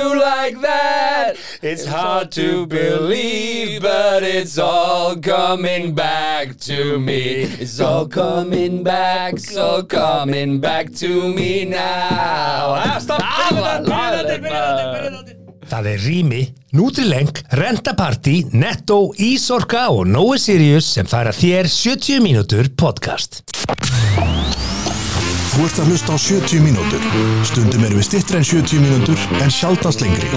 you like that. It's hard to believe, but it's all coming back to me. It's all coming back, it's all coming back to me now. Ah, stopp, byrjum þetta, byrjum þetta, Það er Rými, Nutrileng, Rentaparty, Netto, Ísorka og Nói Sirius sem færa þér 70 mínútur podcast. Þú ert að hlusta á 70 mínútur. Stundum erum við stittri en 70 mínútur en sjaldast lengri.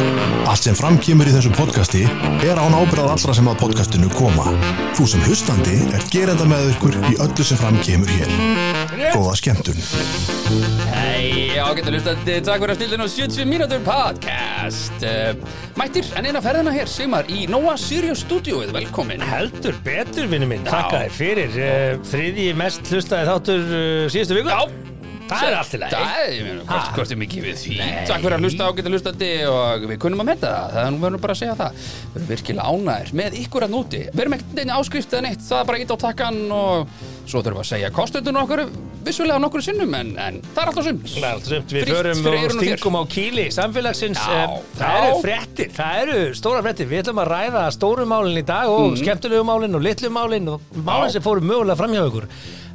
Allt sem framkýmur í þessu podcasti er án ábyrðað allra sem að podcastinu koma. Þú sem hlustandi er gerenda með ykkur í öllu sem framkýmur hér. Góða skemmtun. Hei, ágættu hlustandi, takk fyrir að stildin á 70 mínútur podcast Eh, Mættir, en eina ferðina hér, Sigmar, í Nóa Sirius stúdíóið, velkomin Heldur betur, vinnu minn. Takka þér fyrir. Uh, þriðji mest hlustaði þáttur uh, síðustu viku. Já. Það er allt í lagi. Það er, ég meina, hvort, hvort er mikið við því Takk fyrir að hlusta ágættu hlustandi og við kunnum að metta það, það er nú verðum bara að segja það Við erum virkilega ánægir með ykkur að núti Við erum ekkert neina áskrift eða neitt, það er bara ít á takkan og svo þurfum við að segja kostundun okkur vissulega nokkur sinnum, en, en það er alltaf sumt Það er allt sumt. Við Frítt förum fyrir og eyrun og þér. stingum á kíli samfélagsins. Já, eh, það já. eru frettir. Það eru stóra frettir. Við ætlum að ræða stóru málin í dag og mm. skemmtilegu málin og litlu málin og málin Mhm. Já. sem fóru mögulega framhjá ykkur.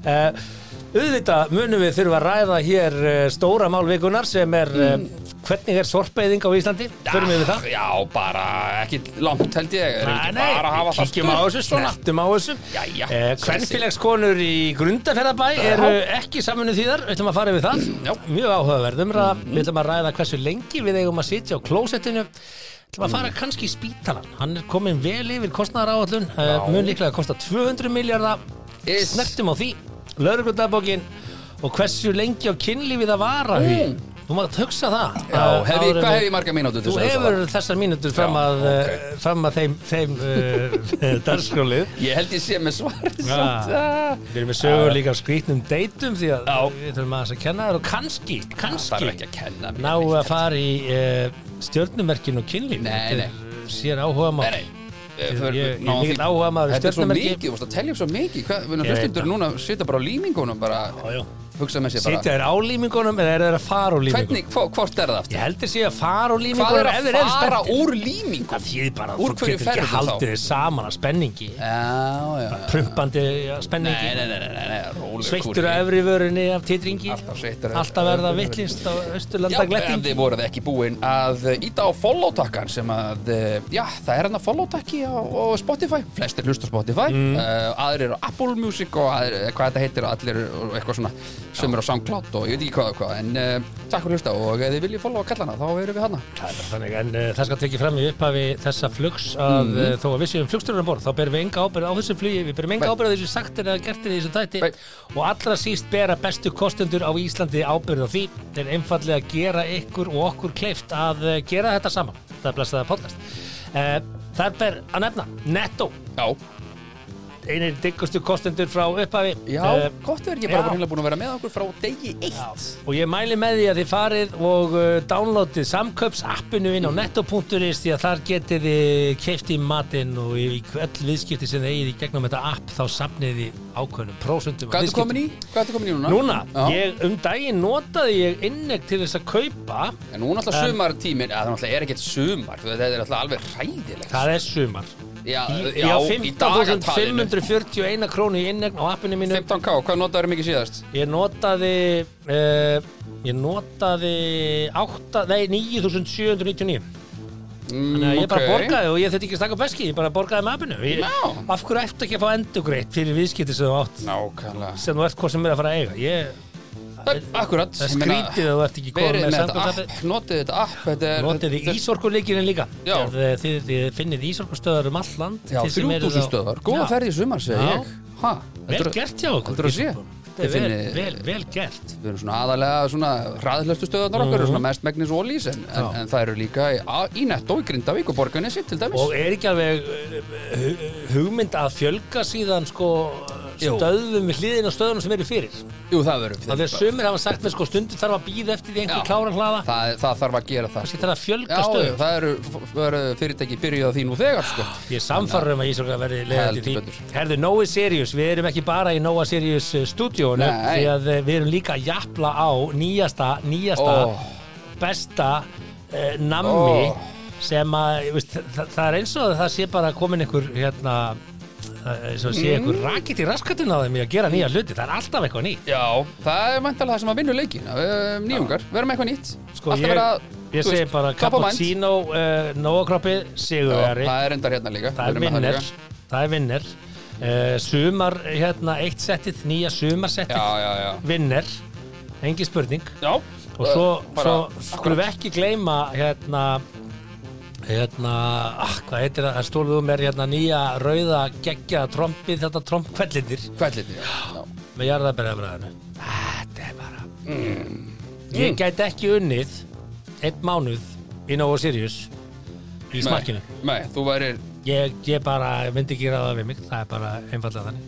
Uh, auðvitað munum við þurfa að ræða hér uh, stóra málvikunar sem er Mm. uh, hvernig er sorpeiðing á Íslandi? Förum við við það? Já, bara ekki langt held ég Erum við Nei, ekki nei, bara að hafa við það kíkjum á stutt þessu, snertum á þessu Jæja. eh, Kvenfélagskonur í Grundaferðabæ eru ekki saminu þýðar Við ætlum að fara yfir það Já. Mjög áhugaverðum mm. Við ætlum að ræða hversu lengi við eigum að sitja á klósettinu Við ætlum að fara kannski í spítalan Hann er komin vel yfir kostnaðaráallun eh, Já. Mun líklega að kosta 200 miljardar Is. Snertum á því Lörgundabókin Og hversu lengi á kynlífið að vara því Mm. Þú mátt hugsa það Já, eh, hef ég, áður en hvað við- hef ég marga mínútu til Þú þess að hefur það? þessar mínútur fram Já, að, ok. okay. fram að þeim, þeim uh, darskólið. Ég held ég sé með svarið Ja. samt ah. Við erum með sögur líka af skrýtnum deytum því að Já. við þurfum aðeins að kenna þér og kannski, kannski Það er ekki að kenna mér ná að neitt. fara í uh, stjörnumerkin og kynlíf. Nei, Þetta er, eh, Sér áhuga Nei, mál. nei eh, Ég- för- ég er ná, mikill því- áhugamaður um Þetta er svo stjörnumerki. mikið, þú vorst að telja upp svo mikið Hvað, við Ég veit hlustum það. núna, sita bara á límingunum bara, já. hugsa með sér bara Sitja þér á límingunum eða er þeir að fara úr límingunum? Hvernig, hvo- hvort er það aftur? Ég heldur sé að fara úr Hvað límingunum er ef að þeir eru fara spenntir. úr límingum? Það þýðir bara Úr að þú hverju getur ekki ferðu þá? haldið þið saman að spenningi. Já, já, já Prumpandi eh, spenningi. Nei, nei, nei, nei, nei, nei rólegur Sveittur kúri. á efri vörunni af titringi Alltaf sveittur á Alltaf efri verða vörunni. vittlist á Já, Östurlanda ef gletting þið voruð ekki búin að eh, íta á follow-takkan sem að, eh, já, það er hann að follow-takki á, á Spotify, flestir hlusta á Spotify, mm. aðrir á Apple Music og aðrir, eh, hvað þetta heitir, allir og eitthvað svona sem er á SoundCloud og ég veit ekki hvað og hvað, en uh, takk fyrir að hlusta og ef þið viljið followa kallana, þá erum við hérna. hana. Það er bara þannig, en uh, það skal tekið fram í upphafi þessa flugs að Mhm. mm. þó að við séum flugstjórnum borð, þá berum við enga ábyrð á þessu flugi, við berum enga Nei. ábyrð á þessu sagtir eða gertir í þessu tætti Nei. og allra síst bera bestu kostendur á Íslandi ábyrð á því, þeir einfallega gera ykkur og okkur kleift að uh, gera þetta saman, það er blessaða podcast. Uh, það ber að nefna, Netto, Já, einir diggustu kostendur frá upphafi. já, Eh, gott er ég bara já. bara búin að vera með okkur frá degi eitt. Og ég mæli með því að þið farið og uh, downloadið samkaupsappinu inn á netto.is því að þar getið þið keift í matinn og í í öll viðskipti sem þið eigið í gegnum þetta app þá safnið þið ákveðnum prósundum Hvað ertu komin í? Hvað ertu komin í núna? Núna, Já. ég, um daginn notaði ég innegg til þess að kaupa En núna alltaf Eh. sumartíminn, eða það náttúrulega er ekkert sumar, þetta er alltaf alveg hræðilegt. Það er sumar Já, Ég já, á í dagatalinu. 15.541 krónu í innegg á appinu mínu 15k, hvað notaður mikið síðast? Ég notaði uh, ég notaði 8, nei 9.799 Mm, Þannig að ég bara ok. borgaði og ég þetta ekki að stakka upp veski, ég bara borgaði með appinu. Ég, Já. af hverju eftir ekki að fá endugreitt fyrir viðskipti sem þú átt, Nákvæmlega sem þú ert hvað sem er að fara að eiga. Ég, Það- Akkurat það er ég meina, skrítið að þú ert ekki komið Verið með með þetta samkvæmstapi. app, notið þetta app þetta er, Notið þið þetta- ísorkuleikirinn líka. Já. Ef, eh, Þið, þið finnið ísorkustöðar um all land. Já, þið sem eruð 3000 á- stöðar, góða Já. ferð í sumar segi Já. ég ha, þetta Vel eru- gert hjá okkur. Þetta er að sé. Þetta er Þið vel, finnið- vel, vel gert. Við erum svona aðalega svona hraðlöftu stöðarnar okkar, Mhm. svona mest megnis ólís en, en, en það eru líka í, á- í netto í Grindavík og borgarni sitt til dæmis Og er ekki alveg eh, hu- hugmynd að fjölga síðan sko Jú. stöðum við hliðin og stöðunum sem eru fyrir? Jú, það verður Það er sumir hafa sagt mér sko stundu þarf að býða eftir því Já. einhver kláran hlaða það, það þarf að gera það kannski þarf að fjölga Já, stöðum það eru, það eru fyrirtæki byrjuð á því nú þegar sko. Ég samfarrar um að Ísorga verði leiðandi Heldur því betur. Herðu, Nói Sirius, við erum ekki bara í Nóa Sirius eh, stúdíónu Nei. því að eh, við erum líka að japla á nýjasta, nýjasta, Ó. besta uh, nammi Ó. sem að, ég veist, það, það er eins og það sé bara komin einhver hérna, það- eins og sé Mm. einhver rakit í raskatinn á þeim í að gera nýja hluti, það er alltaf eitthvað nýtt Já, það er mæntalega það sem að vinna leikin um, Nýjungar, verum eitthvað nýtt sko, Alltaf ég, vera, ég þú segi veist, bara top of mind. cappuccino, uh, nóakroppi Já, sigurveri, Það er undar hérna líka það er Við erum með vinnir líka. það er vinnir uh, sumar, hérna, eitt settið nýja Já, sumarsettið, já, já vinnir engin spurning Já, og svo, Eh, bara, svo skulum við ekki gleyma hérna hérna, ah, hvað heitir það, það stóluðu mér hérna nýja rauða geggja trompið, þetta trompkvellindir Kvælliti, já, já. með jarðabæðabræðinu þetta er bara Mm. ég gæti ekki unnið einn mánuð í Nova Sirius í smakkinu Nei, þú værir, ég, ég bara myndi ekki ráða við mig það er bara einfallega þannig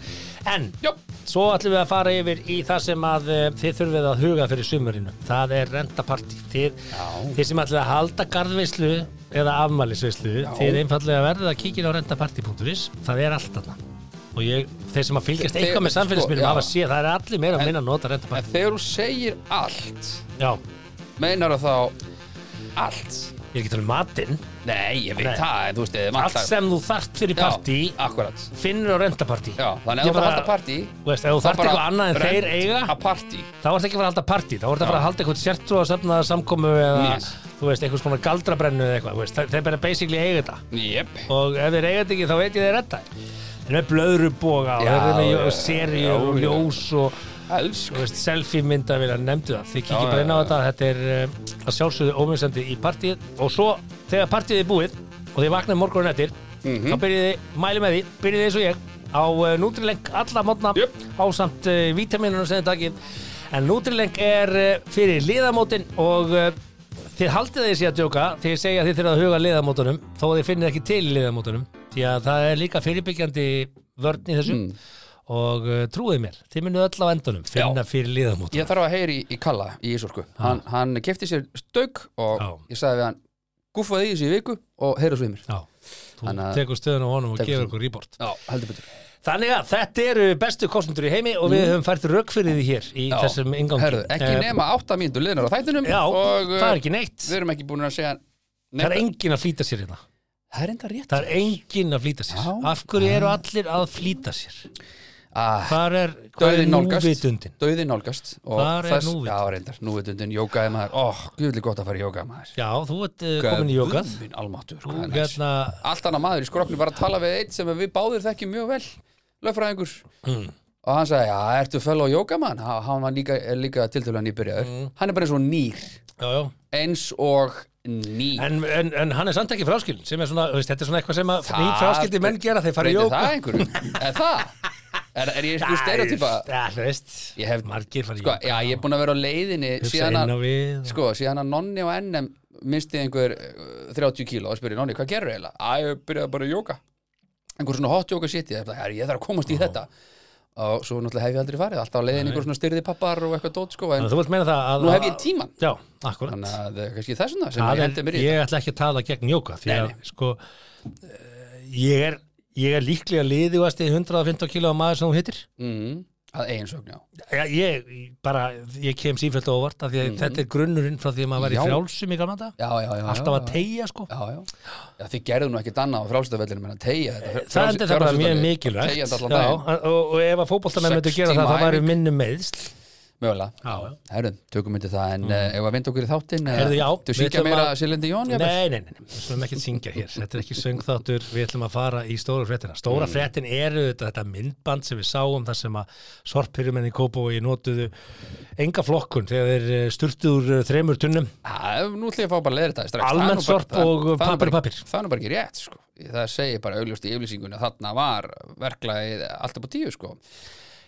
en já, Svo ætlum við að fara yfir í það sem að e, þið þurfið að huga fyrir sumurinu. Það er rentapartí. Þið, Já. þið sem ætlum að halda garðveislu eða afmælisveislu, þið einfallega verðið að kíkja á rentapartí.is. Það er allt þarna. Og ég, þeir sem að fylgjast Þe- eitthvað með sko, samfélagsmiðlum já. hafa séð, það er allir meira að minna að nota rentapartí. en þegar þú segir allt Já, Meinar þá allt ég er ekki talað um matinn. Nei, ég veit Nei. það, en þú veist, eða Allt sem þú þart fyrir partí, Já, akkurat finnur á rentapartí. Já, þannig Ég að þú þarf að bara- halda partí Þú veist, ef þú þart eitthvað annað en þeir eiga, Að partí þá ertu ekki að fara að halda partí, þá ertu að fara að halda eitthvað sértrú að söfna samkomu eða, Yes. þú veist, eitthvað svona galdrabrennu eða eitthvað, þú veist, þeir bara basically eiga þetta Jep og ef þeir eiga þetta ekki þá veit ég þeir retta þeir eru með blöðruboga og Já, þeir eru já, með já, serju og já. ljós og, Elsku þú veist, selfie mynda vilja nefndu það, Já, þið kikið bara inn á já, já. þetta þetta er um, að sjálfsögðu ómjömsendi í partíið og svo þegar partíið er búið og þið vaknaði morgunin eftir Mhm. þá byrjið þið, mæli með því, byrjið þið eins og ég á uh, Nutrileng alla mótna Jöp. ásamt uh, vítaminunum sem þið takið en Nutrileng er uh, fyrir liðamótin og uh, þið haldið þessi að djóka þið segja að þið þurfið að huga liðamótunum þó að þið finnið ekki til í liðamótunum því að það er líka fyrirbyggjandi vörn í þessu Mm. og uh, trúið mér, þið munið öll á endunum finna fyrir liðamót Ég þarf að heyri í Kalla í Ísorku Hann, hann kefti sér stauk og Já. ég sagði við hann Guffaði í þessu í viku og heyrðu svo í mér Já, þú Þannig að- tekur stöðun á honum og Tekur gefur stöðuna. okkur rýbort Já, heldur betur Þannig að þetta eru bestu kostnundur í heimi og við höfum fært rökk fyrir því hér í Já. þessum ingangi Herðu, ekki Eh, nema átta mínútur liðnar á þættinum Já, og, uh, eh, það er ekki neitt Við erum ekki búin að segja Það er engin að flýta sér hérna Það er enda rétt Það er engin að flýta sér Já. Af hverju eru allir að flýta sér? ah, Hvar er, hvar er Dauðin nálgast núvitundin? Dauðin nálgast og Hvar er þess- núvitund? Já, reyndar, núvitundin, jókaði maður Ó, oh, guðli gott að fara í jókaði maður Já, þú ert uh, komin í jókað Guð minn almáttugur, sko, Þú hvað er næs hérna allt annað maður í skrokni var að tala við einn sem við báðir þekkjum mjög vel lögfræðingur Mm. og hann sagði, já, ertu fell á jókamann hann var líka, er líka tiltölulega nýbyrjaður Mm. hann er bara eins og nýr Já, já eins og nýr En, en, en hann er samt ekki fráskilin sem er svona, þú veist, þetta er svona eitthvað sem að Það- ný fráskildi menn gera þeir fara í Breytir jóka það einhverju? er það? Er, er ég eitthvað stereotypa? Það, þú veist, Ég hef- margir fara í Sko, já, ég er búin að vera á leiðinni síðan inn á að, við. sko, síðan að nonni og ennum misti einhver uh, 30 kíló og spyrir nonni, hvað gerur eiginlega? Æ, ég byrjaði bara að jóka einhver svona hot jóka shit, ég, ætla, "Herra, ég þarf að komast í þetta og svo náttúrulega hef ég aldrei farið alltaf á leiðinni einhver svona styrði pappar og eitthvað dót sko, en Þannig að Þú vilt meina það að... nú hef ég tíman Já, akkurat. þannig að það er kannski þessum það sem Það ég er, hendur mér í ég ætla ekki að tala gegn jóka, því að, Nei, sko, eh, ég er, ég er líklega liðugast í 150 kíló maður sem þú hittir. mm, að eigin sögn, já Ég, ég bara, ég kem sífælt á óvart, af því að þetta er grunnurinn frá því að maður var í Já. frjálsum í gamla þetta. já, já, já, já, Alltaf að já, tegja, sko. já, já. já, þið gerðu nú ekkert annað á frálsutavellinum en að tegja þetta Það er þetta bara mjög mikilvægt. tegja þetta Já, alltaf og, og ef að fótboltamenn Sex myndu gera það, tíma það væri æfing. minni meðsl. mögulega Já, já. Herru, tökum myndi það, en mm. uh, ef að vinda okkur í þáttinn eh, Heyrðu, já, Þú við síkja ætlum meira að- að Silindi Jón jafnvel? Nei, nei, nei, nei, við slum ekki syngja hér Þetta er ekki söngþáttur, við ætlum að fara í stóra fréttina Stóra mm. fréttin eru þetta, þetta myndband sem við sáum þar sem að sorpyrumenn í Kópavogi notuðu enga flokkun þegar þeir eh, sturtuður þremur tunnum Ha, Nú ætlum ég að fá bara að leiða þetta strax Það er Almennt nú bara- sorp það- og það er nú pappír bara- og pappír. Það er nú bara ekki rétt, sko Það segir bara augljóst í yflýsingunni að þarna var verklagið allt upp á tíu, sko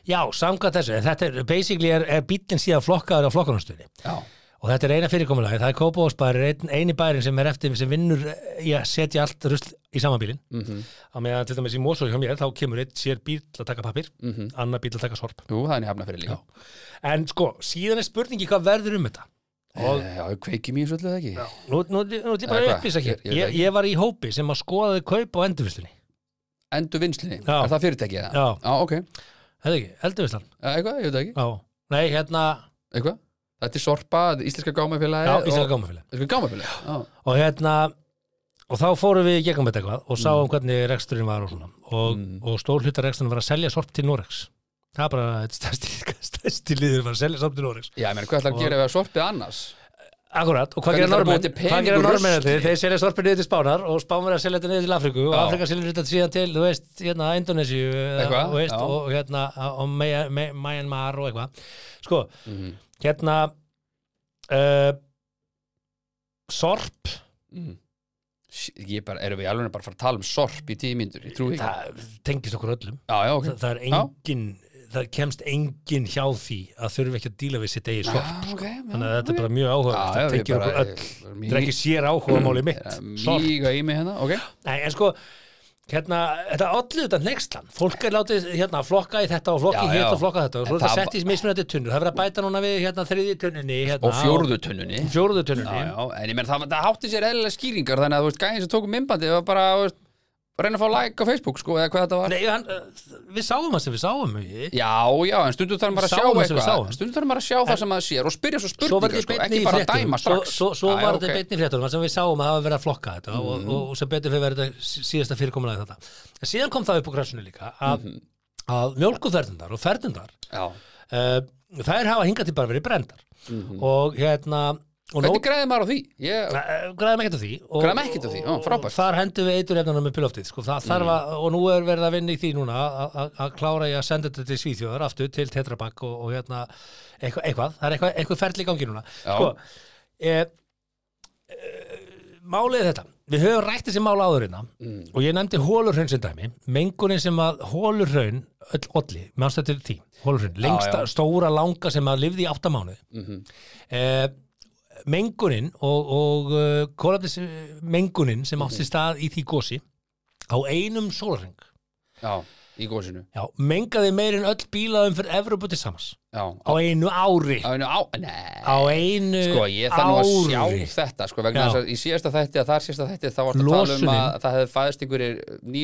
Já, samkvæmt þessu, en þetta er basically er, er bíllinn síðan flokkaður á flokkunarstöðni Já, og þetta er eina fyrirkomulagi, það er Kópavogsbæri ein, eini bærin sem er eftir sem vinnur eh, í að setja allt rusl í saman bílinn mm Mhm, -hmm. á meðan til dæmis í Mosó hjá mér þá kemur einn sér bíl að taka pappir annar bíl að taka sorp mhm. jú, það er nýjafna fyrir líka En sko, síðan er spurningi hvað verður um þetta Og Já, við kveikjum í þessu öllu eða ekki Nú, nú, nú, nú ætlum ég bara Eh. Eða að hvað? upplýsa hér Ég- ég veit ég, ekki. ég var í hópi sem að skoðaði kaup á endurvislunni Endur vinslinni, Já. er það fyrirtækið það? Já, Já, ok, hefði ekki, endurvislan Eh, eitthvað, ég veit það ekki Já, nei, hérna Eitthvað, Þetta er Sorpa, Íslenska Gámafélagi Já, Íslenska gámafélag. Íslenska Gámafélagi, já og hérna og þá fórum við í gegnum þetta eitthvað og Mm. sáum hvernig reksturinn var og svona og, og stór hluta reksturinn var að selja sorp til Norex það er bara eitt stærsti, stærsti liður var að selja sorp til Norex Já, menn, hvað ætlar að gera við að Sorpið annars? Akkurat, og hvað Hvernig gera ætlarðu að búa normenn? til pening Hvað gera úr normenn rusli? þetta? Þeir selja sorpið niður til Spánar og Spánar er að selja þetta niður til Afriku og Já. Afrika selja þetta síðan til, þú veist, hérna, Indonésiu eða, Eitthvað, þú veist, já. og hérna, og Maya- Ma- Myanmar og eitthvað Sko, Mhm. hérna uh, Sorp Mm. Sí, Ég bara, erum við alveg bara að fara að tala um sorp í tíu mínútur, ég trúi ekki það tengist okkur öllum Já, já, ok það, það er engin, það kemst engin hjá því að þurfa ekki að díla við sitt eigið sorp Já, ok, já, Þannig að þetta ok. er bara mjög áhuga Já, já, það ég tengir bara- okkur öll ég- Þetta er ekki sér áhuga máli mitt Sorp Míga í mig hérna, ok Nei, en sko, hérna, þetta allir þetta nextlan, fólk er látið hérna að flokka í þetta og Já, flokka í já. þetta og flokka í þetta og svo En er þetta það- sett í mismunandi tunnur, það verður að bæta núna við hérna þriði tunninni, hérna, Og fjórðu tunnunni og fjórðu Já, tunninni, já, en ég menn það, það hátti sér eðlilega skýringar þannig að þú veist, gæðin sem tókum myndbandi var bara þú veist, að reyna að fá like á Facebook sko, eða hvað þetta var nei, hann, uh, við sáum það sem við sáum, við, Já, já, en stundum þarf maður að Sáum sjá það sem við eitthvað sáum. stundum þarf maður að sjá það sem maður sér og spyrja svo svo var spurningar þetta í sko, beinni ekki í bara að fréttunum, dæma svo, strax svo, svo Já, já, var þetta í ok. Mhm. beinni í fréttunum, þar sem við sáum að það var verið að flokka þetta og, og, og sem betur fyrir verið þetta sí- síðasta fyrirkomulega þetta. En síðan kom það upp á græsunu líka að, Mhm. að mjölkuferðundar og ferðundar, Já, uh, þær hafa hingað til bara verið brendar og hérna, og Mhm. hvernig græði maður á því? Ég, eh, græðum ekkert á því og- Græðum ekkert á því, ó, frábært. Mm. og þar hendum við eitur efnanum með piloftið sko, það þarf að, og nú er verið að vinna í því núna að- að- að klára ég að senda þetta til Svíþjóðar aftur til Tetrabakk og, og hérna eitthvað, eitthvað, það er eitthvað, eitthvað ferli í gangi núna Já. sko e, e, málið er þetta við höfum rætt þessi mál áðurina mm. og ég nefndi hólurhraun sem dæmi mengunin sem að hólurhraun öll olli, mannstu til því, hólurhraun lengsta, já. Mhm. stóra langa sem að lifði í áttamánuð mm -hmm mengunin og, og uh, kólefnis mengunin sem Mhm. átti stað í því gósi á einum sólarring já, í gósinu já, mengaði meirinn öll bílaðum fyrir Evrópu til samans Já, á einu ári á, á, nei á einu Sko, ég þarf nú að ári sjá þetta sko, vegna Já. þess að í síðasta þætti að þar síðasta þætti þá var að tala um að Losunin. það hefði fæðist einhverjir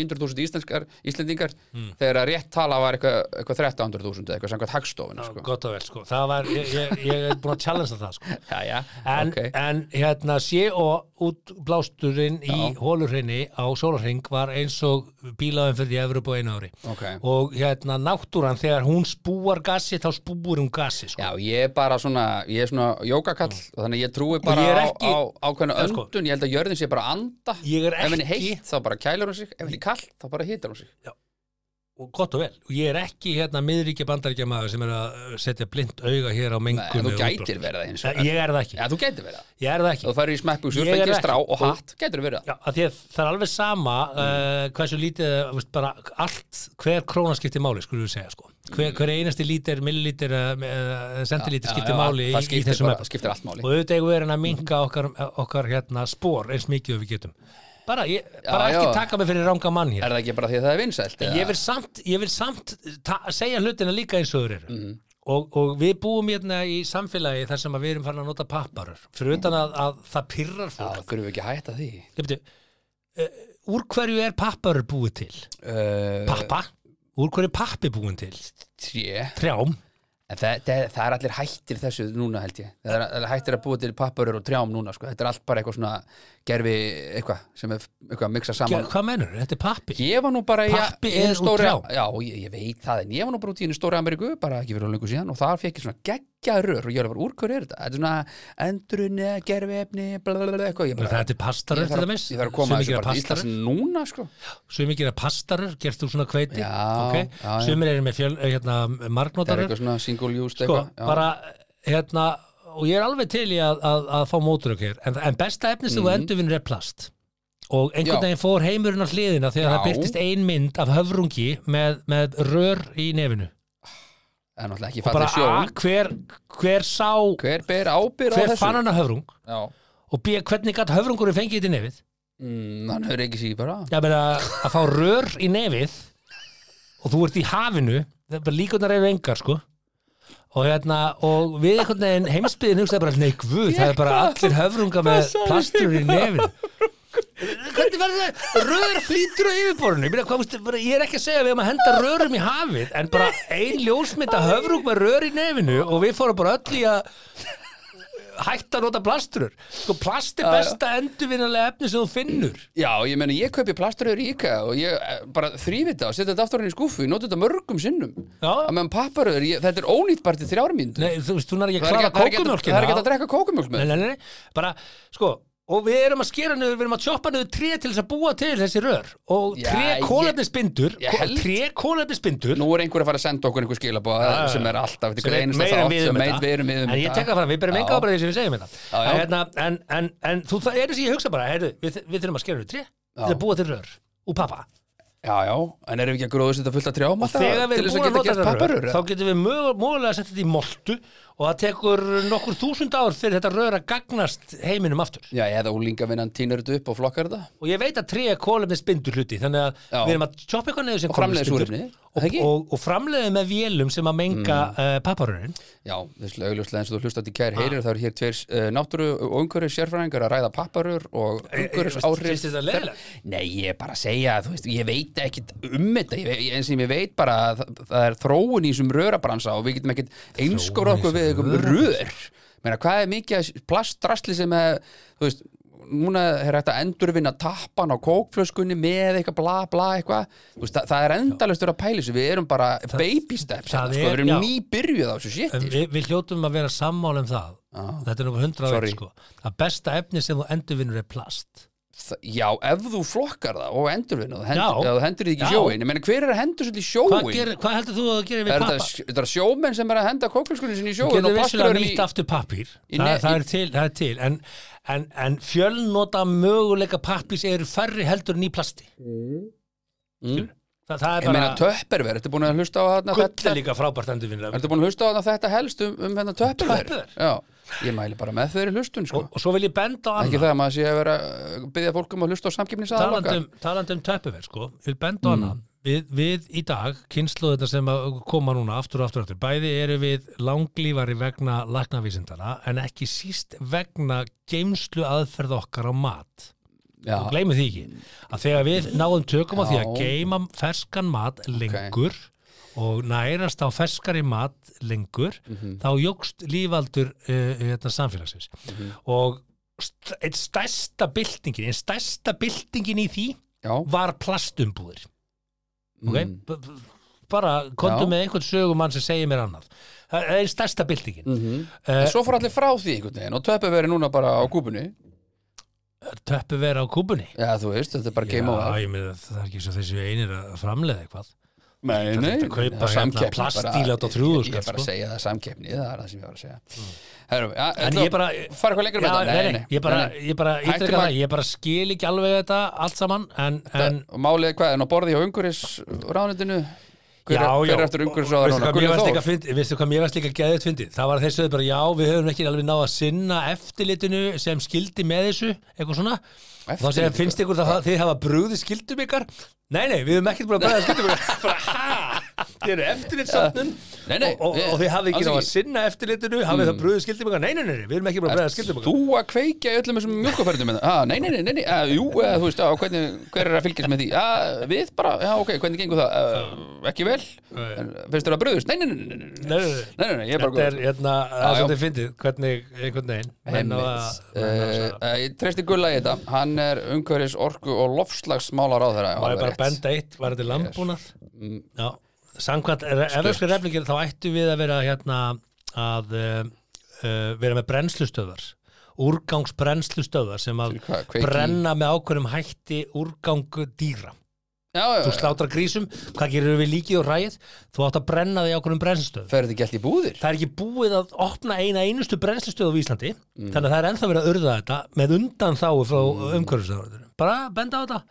900.000 íslenskar Íslendingar Hmm. þegar að rétt tala var eitthvað eitthvað 300.000 eða eitthvað samkvæmt hagstofuna Já, sko. gott og vel, sko, það var ég, ég, ég er búin að challenge það, sko Já, já, en, ok en hérna sé og útblásturinn í Já. hólurhrinni á sólarhring var eins og bílaðum fyrir Evrópu á einu ári Ok. og hérna náttúran þegar hún spúar gasi þá spúur hún gasi, sko Já, ég er bara svona, ég er svona jókakall og þannig að ég trúi bara Hmm. ég er á, ekki- á ákveðna Já, sko. öndun, ég held að jörðin sé bara að anda Ég er Ef henni ekki- heitt þá bara kælur hún sig, ef henni kall þá bara hitar hún sig og gott og vel, og ég er ekki hérna miðríkja bandaríkja maður sem er að uh, setja blind auga hér á Nei, En mengun þú gætir verið það eins og ég er það ekki, Já, þú gætir verið það ég er það ekki Þú færir í smekkbúsur, Ég er fengir ekki- strá og hatt, gætir verið það Já, að því að það er alveg sama Mm. uh, hversu lítið, uh, veist, bara allt hver króna skiptir máli, skulum við segja sko. hver, hver einasti lítir, millilítir uh, sentilítir Mm. Já, skiptir já, máli það í, í skiptir þessum bara- efnum. skiptir allt máli. Mm. og auðvitað eigum við erum að minka okkar, okkar hérna, spór eins mikið og við getum bara, ég, bara Já, ekki já. taka mig fyrir ranga mann Er hér það ekki bara því að það er vinsælt? eða? ég vil samt, ég vil samt ta- segja hlutina líka eins og þeir eru Mhm. og, og við búum hérna í samfélagi þar sem að við erum farin að nota papparur fyrir utan að, að það pyrrar Já, fólk það þurfum við ekki að hætta því Ég byrju, uh, úr hverju er papparur búið til? uh, Pappa? Úr hverju er pappi búin til? Tré Trjám? En það, það, það er allir hættir þessu núna held ég Það er allir hættir að búa til papparur og trjám núna sko. Þetta er allt bara eitthvað svona gerfi eitthvað sem er eitthvað að miksa Hva, saman hvað menur? Þetta er pappi? Ég var nú bara í- Pappi í er úr stóri, trjám. Já, ég, ég veit það en ég var nú bara út í einu stóri Ameríku bara ekki fyrir lengur síðan og þar fekk ég svona geggja rör og ég var bara úr hverju er þetta Þetta er svona endrunni, gerfi efni eitthvað ég bara Þetta er pastarur Ég til þarf, dæmis? ég þarf að koma Sumir þessu gera bara til Íslands pastarur? núna sko. Sumir gera pastarur, gerst þú svona kveiti? Já, ok? já, já. Sumir eru með fjöl, hérna, Það er margnótarur? eitthvað svona single used Sko, eitthvað já. bara, hérna, og ég er alveg til í að, að, að fá móturök hér, en, en besta efni sem þú endurvinnur er plast. Og einhvern Mhm. Já. veginn fór heimurinn á hliðina þegar það Já. byrtist ein mynd af höfrungi með, með rör í nefinu. Það er náttúrulega ekki bara fallið A, sjón hver, hver sá Hver ber ábyrð á hver þessu? fann hann að höfrung Já. og B, hvernig gætt höfrungurinn fengið þetta í nefið Mm, hann höfður ekki síði bara ég meina að fá rör í nefið og þú ert í hafinu það er bara líkunar eru engar sko og hérna og við einhvern veginn heimsbyðin hugsaði bara nei guð það er bara allir höfrunga með plastur í nefinu hvernig verður það rör flýtur á yfirborðinu ég, meina, hvað, veistu, bara, ég er ekki að segja að við erum að henda rörum í hafið en bara ein ljósmynda höfrung með rör í nefinu og við fórum bara öll í að hætt að nota plasturur sko plast er Já, já. besta endurvinnulega efni sem þú finnur Já, ég meni, ég kaupi plasturöður í IKEA og ég eh, bara þrýfi þetta og setja þetta aftur hann í skúfu ég noti þetta mörgum sinnum Já. að meðan papparöður, ég, þetta er ónýtt bara til þrjármyndu Nei, þú veist, þú nær ekki að það er ekki- klára það er ekki- það kókumjólkina er ekki að drekka kókumjólk nei, með nei, nei, nei, bara, sko og við erum að skera niður, við erum að choppa niður tré til þess að búa til þessi rör og Já, tré ég- kólefnisbindur ég held- tré kólefnisbindur Nú er einhver að fara að senda okkur einhver skilabóð sem er alltaf, þetta er hver einasta meira en þátt við um sem meit- þetta við erum við um en ég þetta. tekka fram, við berum Já. enga ábæðið því sem við segjum hérna Já, já. En hérna, en, en, en þú, það er þess að ég hugsa bara heyrðu, við, við þurfum að skera niður tré til Já. að búa til rör úr pappa Já, já, en erum við ekki að gróða þetta fullt að trjám og þegar til við erum þess búin að geta að nota gert þetta rör papparöður þá getum við mögu- mögulega að setja þetta í moltu og það tekur nokkur þúsund ár fyrir þetta rör að gagnast heiminum aftur Já, eða úlingavinnan tínur þetta upp og flokkar þetta og ég veit að tré er kólefni spindur hluti þannig að Já. við erum að choppa eitthvað neður sem Og framleiða kolefnisbindur súrefni, og, það ekki? og, og framleiða með vélum sem að menga mm. uh, papparörin Já, þessu augljóslega eins og þú hlustat í kær heyrir það eru hér tveir uh, náttúru og umhverjus sérfræðingar að ræða papparur og umhverjus áhrif Eh, finnst þetta leiðilegt? Nei, ég er bara að segja, þú veist, ég veit ekki um þetta, ég, veit- eins og ég veit bara að það, það er þróun í þessum rörabransa og við getum ekkit einskóra okkur við einhverjum rör Meina, hvað er mikið af plastdrasli sem er, þú veist, núna er hægt að endurvinna tappan á kókflöskunni með eitthvað bla bla eitthvað Þú veist, það, það er endalaustur að pæli sig, við erum bara baby steps, það hérna, sko, er- við erum já. nýbyrjuð á þessu En shiti Eh, við, við hljótum að vera sammála um það þetta er nú hundra Sorry. veit sko að besta efni sem þú endurvinnur er plast Þa- Já, ef þú flokkar það og endurvinna það, Já. hend, eða þú hendur þið ekki í Já. sjóin Ég meina, hver er að hendur svolítið í sjóin? hvað, ger, hvað heldur þú að gera er við þetta, pappa? sj- þetta er sjómenn sem er að henda kóklaskunni sinni í sjóin getur og vissulega plaströðum í nýtt aftur pappír í það, ne- það, í- er til, það er til en, en, en fjölnota möguleika pappís eru færri heldur en í plasti mm. það, það Ég er meina, bara töpperver, ertu búin að hlusta á þarna gull þetta er líka frábært endurvinnur Ertu búin að hlusta á þarna þetta helst um, um hennar töpperver? Töpperver? Já, ég mæli bara með þeirri hlustun sko. og, og svo vil ég benda á Ekki annað það að maður sé að vera uh, að byggja fólkum um að hlusta á samkeppnisaðalokkar talandi um, talandi um töpuver sko, ég vil benda á hana við, við í dag, kynnslóðina sem að koma núna aftur og aftur og aftur, bæði eru við langlífari vegna lagnavísindana en ekki síst vegna geimslu aðferð okkar á mat Já, og gleymið því ekki að þegar við náðum tökum á því að Já. geima ferskan mat lengur og nærast á ferskari mat lengur, Mhm. þá jógst lífaldur uh, hérna, samfélagsins Mhm. og st einn stærsta byltingin, einn stærsta byltingin í því já var plastumbúðir okay? mm. B- b- bara kontu Já. með einhvern sögumann sem segir mér annað það er einn stærsta byltingin mm. Mhm. En svo fór allir frá því einhvern veginn og töpperver er núna bara á kúbunni töppu vera á kúbunni Já, þú veist, þetta er bara game over Já, ég meina, það er ekki svo þessi einir að framleiða eitthvað Nei, Það nei, þurfti að kaupa nei, hérna samkeppni plastílát á bara- 3.000 Ég er bara sko. Mm. að segja það, samkeppni, það er það sem ég var að segja Herrum, ja, En ætlum ég bara- að Fara eitthvað lengur Já, með þetta? nei, nei, ég bara, nei, nei. ég bara, Hættum ítreka að- það, ég bara skil ekki alveg þetta allt saman, en, en Og Málið er hvað, en á borði hjá unguris ránundinu Hver, já, er- já, hver er eftir unguris Og ráður núna? Guðjón veistu hvað mér varst líka Þór? fyndið- veistu hvað mér varst líka geðið fyndið það var að þeir sögðu bara já, við höfum ekki alveg náð að sinna eftirlitinu sem skildi með þessu eitthvað svona, og þá segja Eftirliti, finnst ykkur það að þið hafa brúði skildum ykkar nei, nei, við höfum ekkert búin að brúða skildum ykkar bara, ha, þið eru eftirlitsatnum Nei, nei, og, og, ég- og þið hafið ekki alls Mm. náð að sinna eftirlitinu hafið það brúði skildum ykkar, nei, nei, nei, nei, við höfum ekki búin að brúða skildum ykkar Þú að kveikja í öllum þessum mjölkufærðum ah, Nei, nei, nei, nei, nei ah, jú, eh, þú veist, ah, hvernig, hver er að fylgjast með því? Ah, við bara, já, ok, hvernig gengur það? Ah, ekki vel? Eh, En Finnst þér að bröðust? Nei, nei, nei, nei, nei, nei, Nei, nei, nei. nei, nei, ég er bara Þetta er góður. hérna, það Já, er já. svolítið fyndið, hvernig einhvern veginn menn á að- Einmitt. menn á að Eh, svara. eh, Ég treysti gulla í þetta Hann er umhverfis orku og lofslagsmálar á þeirra Má ég bara benda eitt, var þetta landbúnað? Mm, Já, samkvæmt eflösku reflingir þá ættu við að vera hérna að uh, uh, vera með brennslustöðar úrgangsbrennslustöðar sem að Fyrir hvað, kveiki í- brenna með ákveðum hætti úrgang dýra. Já, Þú já, slátra grísum, hvað gerir við líkið og ræð? Þú átt að brenna því ákveðum brennslustöðum. ferði ekki allt í búðir Það er ekki búið að opna eina einustu brennslustöð á Íslandi, Mm. þannig að það er ennþá verið að urða þetta með undan þáu frá mm. Bara benda á þetta,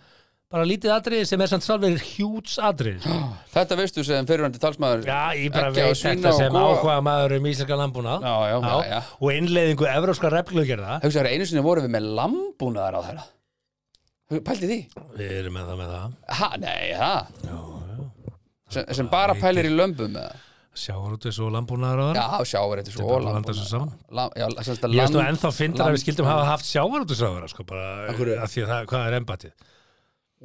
bara lítið atriði sem er samt sálfur hjúts atriði. sko. Þetta veistu sem fyrirvændi talsmaður Já, ég bara Ekki á veit svína þetta og sem kúa. áhuga maður um íslenska landbúnað Já, já, já, já. og innleiðingu evróskar regluggerða. Hugsaður, einu sinni vorum við með lambúnaðar á þeirra Pældi því? Við erum með það með það. Ha, nei, það sem, sem bara pælir í lömbum eða? Sjáur út þessu landbúnaðar á það. Já, sjáur þetta Þetta svo er bara að blanda þessu saman. Lam, já, sem sagt að Ég veist nú land- ennþá fyndar að land- við skildum hafa haft sjávarútusráðara sko, bara hverju? að því að það, hvað er embatið?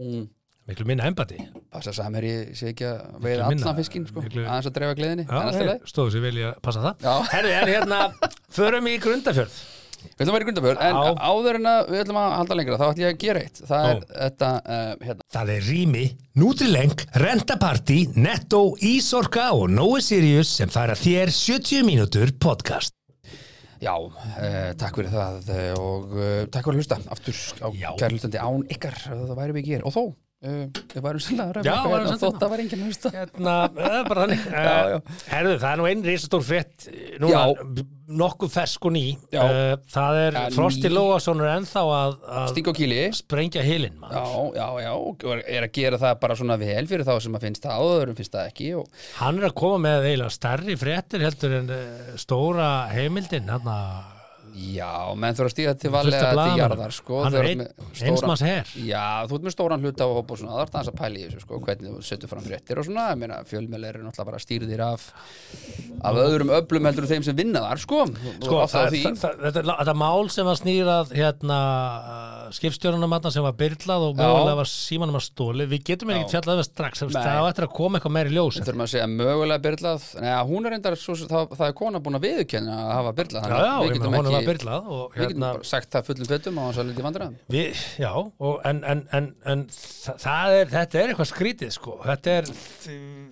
Mm. Miklu minna embati. Passa samir ég sé ekki að veiða minna, allan fiskinn sko, miklu- aðeins að dreifa gleðinni Já, en allt í hei, lagi. stóðu sér vel í að passa það Já. Herri, en hérna, förum í grundafjörð Við ætlum að vera í grundaböður, en Já. áður en að við ætlum að halda lengra, þá ætlum ég að gera eitt. Það er Ó. þetta, uh, hérna, Það er Rými, Nutrileng, Rentaparty, Netto, Ísorka og Nói Sirius sem færa þér 70 mínútur podcast. já, uh, takk fyrir það uh, og uh, takk fyrir að hlusta, aftur á Já. kæri hlustandi án ykkar, uh, það væri við ekki hér. Og þó, uh, við værum sannlega að ræða Já, eitthvað værum hérna, sannlega. þótt það var enginn að hlusta. Hérna, það er bara þannig. Eh, Já, já. Herðu, það er nú einn risastór frétt eh, núna Já. b- nokkuð fersk og ný. Já. Eh, Það er Ja, ný. Frosti Lóasson er ennþá að, að Sting og kýli. sprengja hilinn, Já, maður. já, já, og er að gera það bara svona vel fyrir þá sem að finnst það, áðurum finnst það ekki og Hann er að koma með eiginlega stærri fréttir heldur en eh, stóra heimildin, hann já, menn þurfa að stíga til að valega til jarðar, sko. Hann Þau er eru ein, með stóran- einsmanns herr. Já, þú ert með stóran hluta og hópa og svona, það er það að pæla í þessu sko, hvernig þú setur fram fréttir og svona, ég meina fjölmjöl eru náttúrulega bara stýrðir af af öðrum öflum heldur en þeim sem vinna þar sko, Sko, og það, það, því það, það, þetta, þetta mál sem var snýrað hérna, skipstjórunum aðna sem var byrlað og Já. mögulega var símanum að stóli við getum ekki Já. fjallað við strax Nei. það á eftir að koma eitthvað meiri ljós við þurfum að segja mögulega byrlað neða, hún er reyndar, svo, það, það er kona búin að viðurkenna að hafa byrlað, já, þannig já, að ég við meina getum honum var ekki byrlað og við getum hérna bara sagt það fullum fettum á hans að lítið vandræðum við, já, og, en, en, en, en þa- það er, þetta er eitthvað skrítið sko, þetta er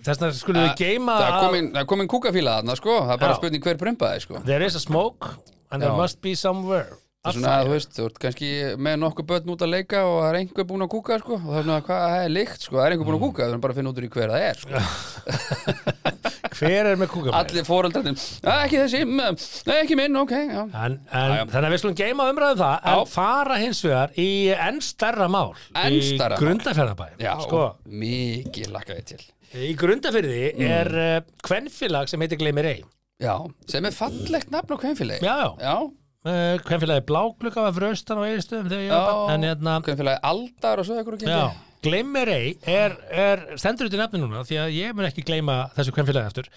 þess vegna skulum við geima það er að- komin, það er komin kúkafíla þarna sko, það er bara Já. spurning hver prumpaði sko there is a smoke and there Já. must be somewhere Það er svona, þú veist, þú ert kannski með nokkuð börn út að leika og það er einhver búin að kúka, sko, og það er svona, hvað það er lykt, sko, það er einhver Mm. búin að kúka, það er bara að finna út úr í hver það er, sko. hver er með kúkabæri Allir foreldrarnir, "Að, ekki þessi, mm, nei, ekki minn, ok, já. En, en þannig að við slum geima umræðum um það en Já. fara hins vegar í enn stærra mál Enn stærra mál. í grundafjörðabæ Já, sko, mikið lakka ég til. í grundafjörði er Mm. uh, kvenfélag sem heitir Gleimir Ei Já, sem er fallegt nafn á kvenfélagi. já, já, Já, uh, kvenfélagi Bláklukka var fröstan á eiginstöðum þegar ég já, var barn, en hérna, kvenfélagi Aldar og svo ekkur og já Gleimir Ei er, er stendur út í nafni núna því að ég mun ekki gleyma þessu kvenfélagi eftir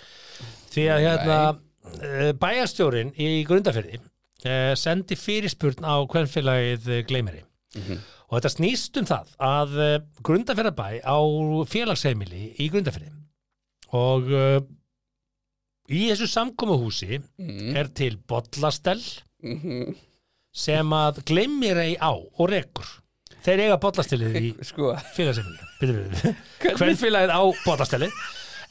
því að hérna uh, bæjarstjórin í grundafjörði uh, sendi fyrirspurn á kvenfélagið Gleimir Ei Og þetta snýst um það að eh, Grundarfjarðarbæ á félagsheimili í Grundarfjarði og uh, í þessu samkomuhúsi Mm. er til bollastell Mhm. sem að gleymir ei á og rekur. Þeir eiga bollastellið í Sko, félagsheimili. Byrðu, byrðu. Kvenfélagið á bollastellið.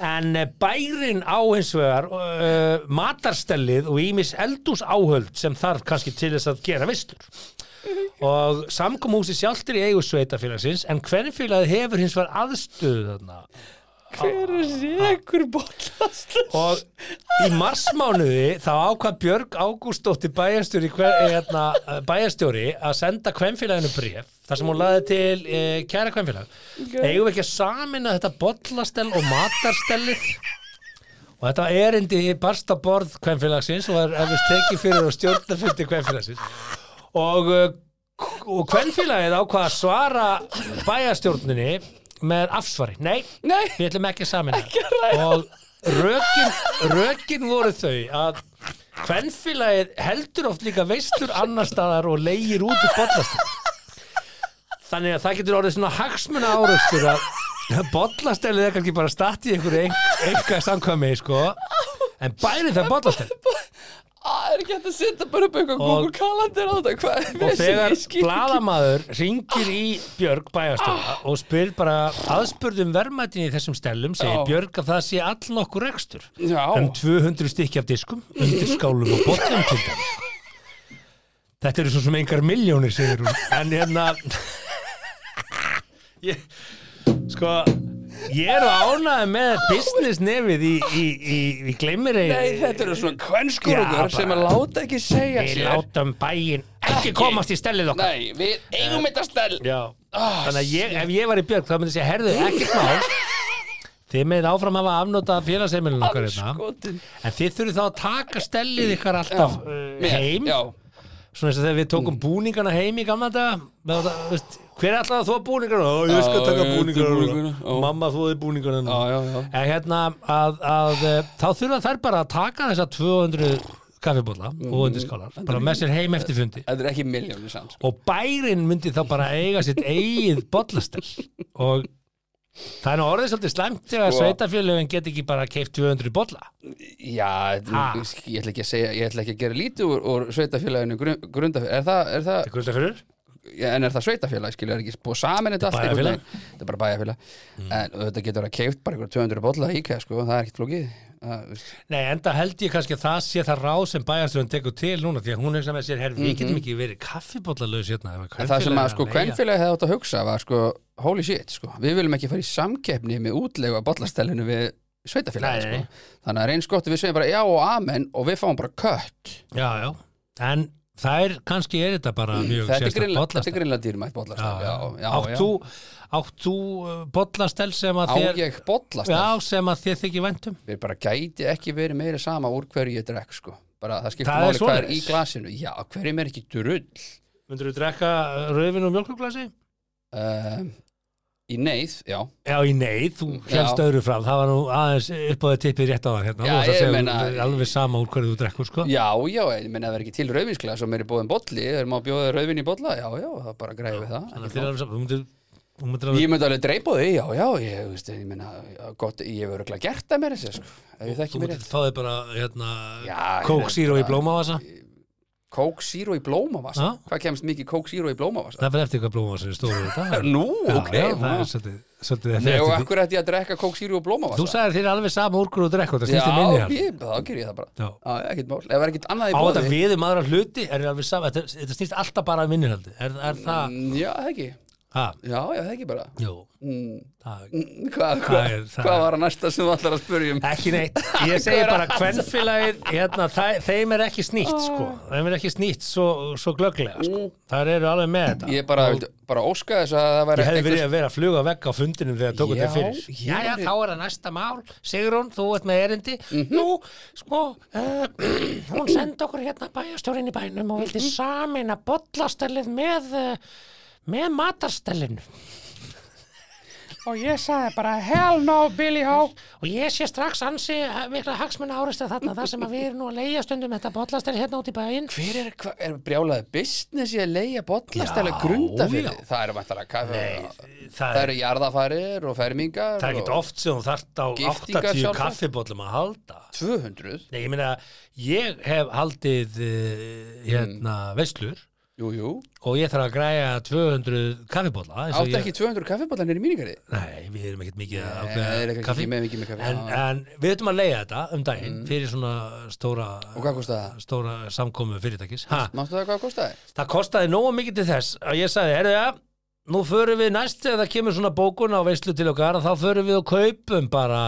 En eh, bærin á hins vegar uh, matarstellið og ímis eldús áhöld sem þarf kannski til þess að gera vistur. Og samkomhúsi sjálftir í eigu sveitafélagsins en kvennfélagið hefur hins vegar aðstöðu þarna. hver er ekkur bollast? Og í marsmánuði þá ákvað Björg Ágústóttir bæjarstjóri, hver- hérna, eh, bæjarstjóri að senda kvennfélaginu bréf þar sem hún laði til e, kæra kvennfélag. Eigum við ekki að samina þetta bollastel og matarstellið? Og þetta erindi barst á borð kvennfélagsins og er eftir tekið fyrir og stjórnafundi kvennfélagsins. Og, eh, k- og kvennfélagið ákvað að svara bæjarstjórninni með afsvari. Nei, Nei, við ætlum ekki að samina og rökin, rökin voru þau að kvenfélagið heldur oft líka veistlur annar staðar og leigir út úr bollastel þannig að það getur orðið svona hagsmuna áraustur að bollastellið er kannski bara statt í einhverju einhverja samkvæmi sko en bærið það bollastel það er ekki hægt að setja bara upp eitthvað Og- Google Calendar á þetta, hvað er og vesen? þegar Ég skil ekki. bladamaður ringir í Björg bæjarstjóra Ah. og spyr bara aðspurðum verðmættin í þessum stellum segir Já. Björg að það sé all nokkur rekstur Já. um 200 stykki af diskum, undir skálum og bollum til dæmis. Þetta eru svo sem engar miljónir, segir hún. En hérna... ég, sko, ég er ánaði með business nefið í, í, í, í gleymir Nei, þetta eru svona kvenskurugur Já, bara- sem að láta ekki segja Við sér látum bæinn ekki komast í stellið okkar. Nei, við eigum þetta stel Já, Ah, þannig að ég, ef ég var í Björk þá myndi ég herðu ekkert mál. Þið með áfram hafa afnóta félagsheimilin okkar hérna. Skotin En þið þurfið þá að taka stellið ykkar alltaf uh, Mér, heim, Já, Mm. svona eins og þegar við tókum búningana heim í gamla daga. með þetta, veist, Hver er alltaf að þóa búningana? Ó, ég skal Já, taka ég þvoi búningana. búningana, núna. já. Mamma þóði búningana. já, núna. já, já. En hérna, að, að, uh, þá þurfa þær bara að taka þessa 200 kaffibólla og undirskálar, Mm. bara með sér heim eftir fundi. Þetta er ekki miljónir sann sko. Og bærin myndi þá bara eiga sitt eigið bollastel og Það er nú orðið svolítið slæmt þegar Sko. sveitafélögin get ekki bara keift 200 bolla. Já, Ha? ég ætla ekki að segja Ég ætla ekki að gera lítið úr, úr sveitafélaginu grun, grundafélag, er það, er það Gulda fyrir? Já, en er það sveitafélag, skilur, er ekki búið samin þetta allt einhvern bæjarfélag. veginn? Þetta er bara bæjarfélag En þetta getur að keift bara einhver 200 bolla í IKEA, sko, það er ekkert flókið Það- Nei, enda held ég kannski að það sé það ráð sem bæjarstjóðan tekur til núna því að hún hugsa með sér, herr, við getum ekki verið kaffibóllalöðs hérna. ef Mhm. En það sem að, sko, leigja." kvenfélagi hefði átt að hugsa var, sko, holy shit, sko Við viljum ekki fara í samkeppni með útlegu að bollastellinu við sveitafélagi, Nei, nei. sko Þannig að reyns gott að við segjum bara já og amen og við fáum bara kött Já, já. En það er, kannski er þetta bara Mm, mjög Þetta er sérstakt greinlega- þetta er bollastell. greinlega dýrmætt bollastell Já, já, Átt já. þú, átt þú uh, bollastel sem að Á þér, ég bollastell já, sem að þér þykir um? væntum? við bara gæti ekki verið meira sama úr hverju ég drekk sko bara það skiptir Það er máli hvað er í svoleiðis. glasinu já, hverjum er ekki drull Myndur þú drekka rauðvin og mjölkoglasi? um, í neyð, já Já, í neyð, þú Já. helst öðru fram, það var nú aðeins upp á það tippið rétt á það Já, hérna, þú varst að ég segja meina- alveg sama úr hverju þú drekkur, sko. já, já, ég menna það er ekki til rauðvinsglas og mér er búin bolli, er maður bjóðið rauðvin í bolla já, já, það bara græði við það Þannig að Ekki þér er mál. alveg sama, þú myndir, þú myndir alveg ég myndi alveg dreipa á því, já, já ég, þú veist, ég menna, gott, ég hef örgulega gert það mér þessi, sko, ef ég Þú þekki mér myndir fá þig bara hérna, Já, kók hérna, síru í bara- blómavasa kók síru í blómavasa, Já. hvað kemst mikið kók síru í blómavasa? Það fyrir eftir hvað blómavasa er stóru þetta nú, ok já, já, það er svolítið, svolítið Nei, eftir og eftir því akkur ætti ég að drekka kók síru og blómavasa Þú sagðir þér alveg sama úr hverju þú drekkur, það snýst um í minni Já, hann ég, þá ger ég það bara Já. Já, ekkert mál, ef það er ekkert annað í Á bóði þetta við um aðra hluti er þér alveg sama, þetta, þetta snýst alltaf bara um minni haldi Er, er það, Já, það ekki, ha, já, já, það ekki bara jú, mm, það mm, Hvað hva, Það er- það hva er- var að næsta sem þú ætlar að spurja um? Ekki neitt, ég segi bara kvenfélagið, hérna, þa- þeim er ekki snýtt sko, þeim er ekki snýtt svo, svo glögglega sko, þar eru alveg með þetta Ég bara, vildi, bara óska þess að það væri Ég hefði verið að vera að fluga vekk á fundinum þegar tókum Já, þetta fyrir. ég Já, já, hefði- þá er það næsta mál. Sigrún, þú ert með erindi. Mhm. Nú, sko, uh, hún sendi okkur hérna bæjarstjórinn í bænum Mhm. og vildi samina bollastellið með, uh, með matarstellinu. Og ég sagði bara, hell no, Billy Ho. Og ég sé strax ansi eh, mikla hagsmuna áreista þarna, þar sem að við erum nú að leiða stundum þetta bollastellið hérna út í bæinn. Hver er, hva, er brjálaði business í að leia bollastæla grunda fyrir? já. Það eru vantalega kaffi Eh, það Það eru jarðafarir og fermingar er ekkert og oft sem þú þart á Giftingar 80 sjálfsagt. kaffibóllum að halda. 200 Nei, ég meina, ég hef haldið Mm. uh, hérna veislur Jú, jú, og ég þarf að græja 200 kaffibólla eins og átti ég- ekki 200 kaffibólar nýri mínigarði Nei, við erum ekkert mikið Nei, að ákveða þeir eru ekki kaffi. með mikið með kaffi, en, já. Mm. en við veitum að leiða þetta um daginn fyrir svona stóra Og hvað kostaði það? stóra samkomu fyrirtækis ha, Mástu það hvað kostaði? Það kostaði nógu mikið til þess að ég sagði, herðu ja, nú förum við næst ef það kemur svona bókun á veislu til okkar að þá förum við og kaupum bara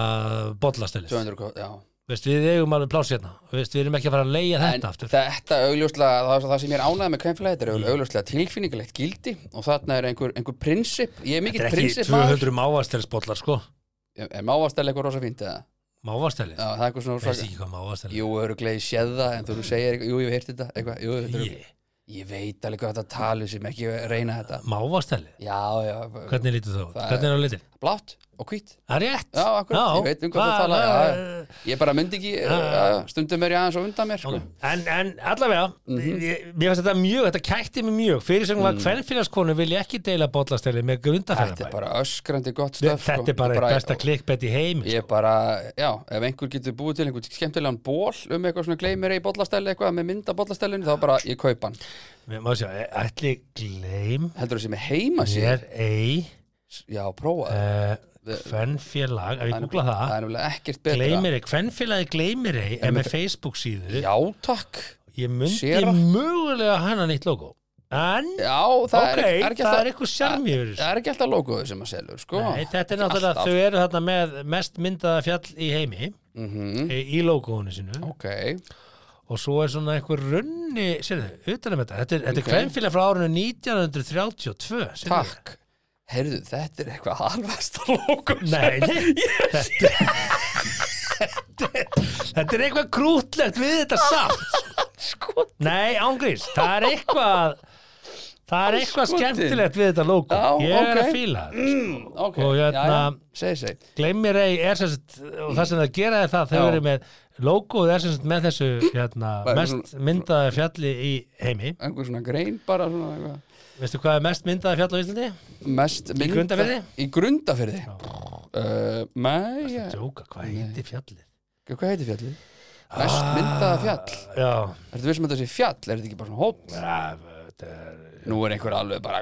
bollastelið 200 kostið, já Veist, Við eigum alveg pláss hérna Veist, Við erum ekki að fara að leiða En þetta aftur þetta augljóslega, það, var það sem ég er ánægð með kvenfélagi, þetta er augljóslega tilfinningalegt gildi og þarna er einhver, einhver prinsip, ég er Þetta mikill er ekki prinsip 200 máastelsbollar sko Er máastæli eitthvað rosa fínt eða? Máastelið, Já, það er eitthvað svona veist rosa ekki hvað máastelið Jú, eru gleði séð það, en þú segir eitthvað, jú, ég hef heyrt þetta eitthvað, jú, þetta er, Ég, ég veit alveg hvað þetta talu sem ekki reyna þetta máastelið Já, já, Hvernig lítur það út? Það er- Hvernig er á litin? blátt og hvít Það er rétt. Já, akkurat, ég veit um hvað það tala já, já. Ég bara myndi ekki, uh, stundum er ég aðeins og undan mér sko. En, en allavega, Mhm. ég, mér finnst þetta mjög, þetta kætti mig mjög. Fyrir sem var mm. hvernfélagskonu vil ég ekki deila bollasteli Þetta með er grundafélagabæ. bara öskrandi gott Þetta, stöf sko. er bara eitt besta klikkbett í heimi. sko. Ég bara, já, ef einhver getur búið til einhvern skemmtilegan ból um eitthvað svona gleymir í bollastelli eitthvað með mynda bollastellinu, þá bara ég kaupa hann. Mér má sjá, eh, ætli gleym Heldur þessi með heima sér? mér ei Já, prófa það. uh, hvernfélag, ef Eh, ég googla Það það, er nefnilega ekkert betra. gleymir ei, hvernfélagi gleymir ei er með Facebook síðu. Já, takk. Ég myndi Séra. mögulega hanna nýtt logo. En, Já, það ok, er, er ekki það alltaf, er eitthvað sjarmi yfir þessu. það er ekki alltaf logoðu sem að selur, sko. Nei, þetta er náttúrulega Alltaf. að þau eru þarna með mest myndaða fjall í heimi Mm e, í logoinu sinu Ok, og svo er svona einhver runni sérðu, utan um þetta, þetta er, þetta er Ok. kvenfélag frá árinu 1932 sérðu. takk. Heyrðu, þetta er eitthvað alvasta logo. Nei, nei, þetta, þetta, þetta er eitthvað krútlegt við þetta samt Sko, Nei, ángrís, það er eitthvað það er eitthvað Andskotinn. skemmtilegt við þetta logo Já, Ég er ok. að fíla það mm, ok, Og já, hérna- já, segi, segi. Gleimir ei er sem sagt og það sem það gera er það þau Já. eru með logoð er sem sagt með þessu hérna, Bara mest myndaða fjalli í heimi Einhver svona grein bara svona eitthvað. veistu hvað er mest myndaða fjall á Íslandi? mest mynda- Grundarfirði? í grundafyrði uh, Nei, ég, Jóka, hvað heitir fjallið? hvað heitir fjallið? Mest Ah. myndaða fjall Já, Er þetta við sem þetta sé fjall? Er þetta ekki bara svona hóll? Já, þetta er Nú er einhver alveg bara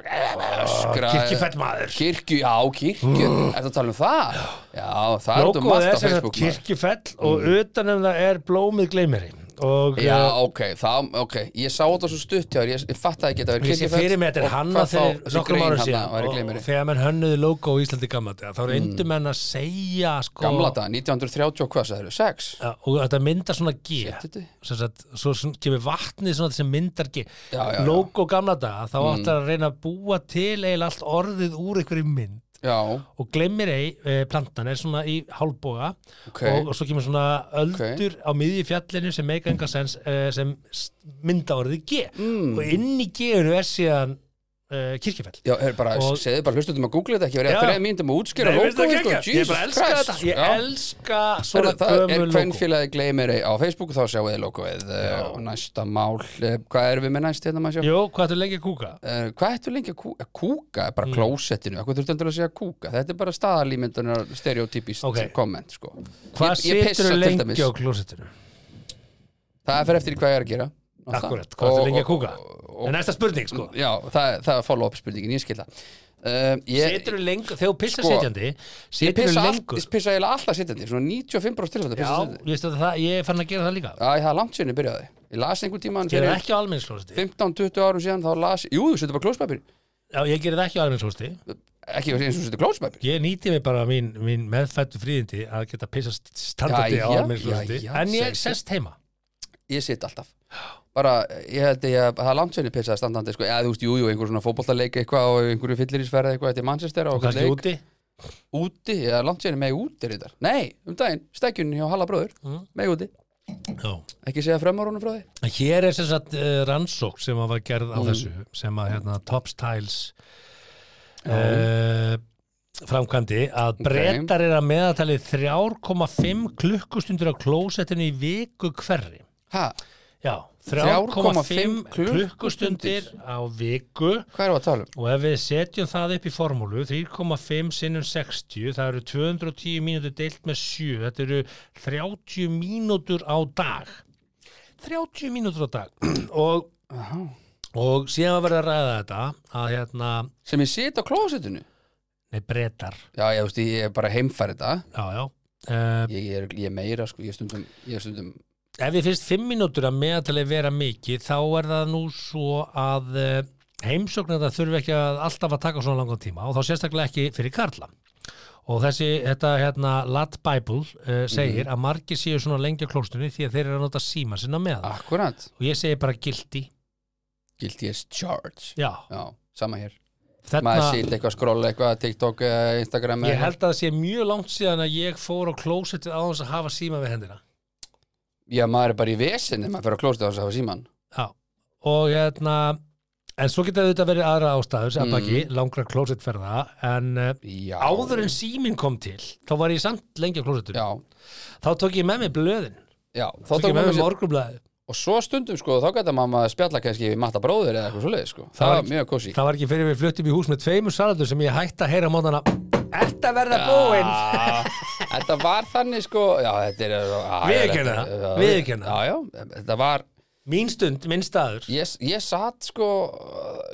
öskra kirkjufett maður Kirkju, já, kirkju Er þetta að tala um það? Já, það er þetta um Logoð allt Mm. á er sem sagt Facebook maður. Mm. kirkjufell og utanum það er blómið gleymeri og Já, eh, ok, það, ok Ég sá þetta svo stutt hjá þér, ég, ég fatt að ekki að þetta verið eh, Ég sé fyrir mig þetta er hanna fyrir nokkrum og, hvað þá- árum síðan og, þessi grein þarna væri og gleymeri. þegar menn hönnuði logo í Íslandi gamla daga, þá reyndu menn að segja sko, Gamla dag, 1930 og hvað sagði þau? Sex? Já, og þetta myndar svona G Sjöttundi? sem sagt, svo svona kemur vatnið svona sem myndar G Já, já, já. logo gamla daga, þá mm. áttar að reyna að búa til eiginlega allt orðið úr einhverju mynd Já, og gleymir ei, eh, plantan er svona í hálfboga ok og, og svo kemur svona öldur á miðju fjallinu sem make enga sens eh, sem s- mynda orðið G Mm. og inn í G-unu er síðan eh, kirkjufell Já, er bara, og- segðu bara hlustuðum að googla þetta ekki verið Já. að þreja mínum að útskýra Nei, logo veist það sko, geggjað? Ég Jesus bara elska Christ, þetta Ég já. elska Svona, svona það er gömul logo hvernfélagi gleymeri á Facebook og þá sjáu þið logoið eh, og næsta mál, eh, hvað erum við með næst hérna maður sjá? Jó, hvað ertu lengi að kúka? Uh, hvað ættu lengi að kú- að kúka? er Bara mm. klósettinu, hvað þurftu endur að segja kúka? Þetta er bara staðalímyndunar stereotypist Ok. komment sko. Hvað Ég- ég pissa situr til lengi dæmis. á klósettinu? Það fer eftir í hvað ég er að gera Og það- Akkurat, hvað ertu og- lengi að kúka? og- En næsta spurning, sko Já, það, það er follow-up spurningin, ég skil það uh, Ég, Situr lengi, þegar þú pissar Sko, setjandi ég Situr pissa, all, lengur ég pissa eiginlega alltaf sittandi Svona 95% tilfætt að Já, pissa sittandi veistu að það, ég er fann að gera það líka Æ, það er langt sinni byrjaði Ég las einhver tíma Gerðu fyrir það ekki á almenningsklósetti 15-20 árum síðan þá las Jú, þú setur bara klóspapir Já, ég gerði það ekki á almenningsklósetti Ekki eins og þú setur klóspapir Ég nýti mig bara mín, mín meðfættu fríðindi að geta pissast standandi Jæja, á almenningsklósetti jæja, En ég segi- sest heima Ég sit alltaf Bara, ég held ég að það er langt sinni pissaði standandi sko. Já, þú veist, jú, jú, einhver svona fótboltaleik eitthvað og einhverju fyllirísferð eitthvað Þetta er Manchester og Og einhvern kannski leik úti úti, eða langt sinni megi úti reyndar Nei, um daginn, stekjunni hjá Halla bróður Mm. megi úti Já ekki segja fremárunum frá því En Hér er sem sagt uh, rannsók sem að var gerð á Mm. þessu sem að hérna, Tops Tiles uh, framkvæmdi að brettar er að meðatali 3,5 klukkustundur á klósettinu í viku hverri ha, Já, 3,5 3,5 klukkustundir á viku hvað erum við að tala um? og ef við setjum það upp í formúlu 3,5 sinnum 60 það eru 210 mínútur deilt með 7 þetta eru 30 mínútur á dag 30 mínútur á dag og, og síðan var verið að ræða þetta að hérna, sem ég sit á klósettinu nei breytar já, ég veist, ég er bara heimfærið það já, já Uh, ég, ég, er, ég er meira, sko, ég er stundum, ég er stundum ef við finnst 5 mínútur að meðatalegi vera mikið þá er það nú svo að uh, heimsóknir það þurfi ekki að alltaf að taka svona langan tíma og þá sérstaklega ekki fyrir karla og þessi, þetta hérna Lat Bible uh, segir að margir séu svona lengi á klóstunni því að þeir eru að nota síma sinna með akkurat, og ég segi bara gildi guilty as charged já, já, sama hér, maður þarna, sit eitthvað scroll eitthvað, TikTok, eh, Instagram Hérna- ég eða- held að það sé mjög langt síðan að ég fór á klósettið á þess að hafa síma við hendina já, maður er bara í vesinni, maður fyrir á klósettinu og þess að hafa síman Já, og hérna en svo geta þetta verið aðra ástæður sem mm. baki, langra klósettferða en uh, já, áður en síminn kom til þá var ég samt lengi á klósettur já, þá tók ég með mig blöðin já, þá tók ég tókum með um við mig morgunblæði og svo stundum, sko, þá gæta maður að spjalla kannski við matta bróður eða eitthvað svoleiðis, sko það var var mjög kósi það var ekki fyrir við fluttum í hús með tveimur saladur sem ég hætti að heyra á mótana Ert að verða búinn Ah, Þetta var þannig sko Já, þetta er að- Viðurkenna það, Já, viðurkenna Já, já, þetta var Mín stund, minn staður Ég, ég satt sko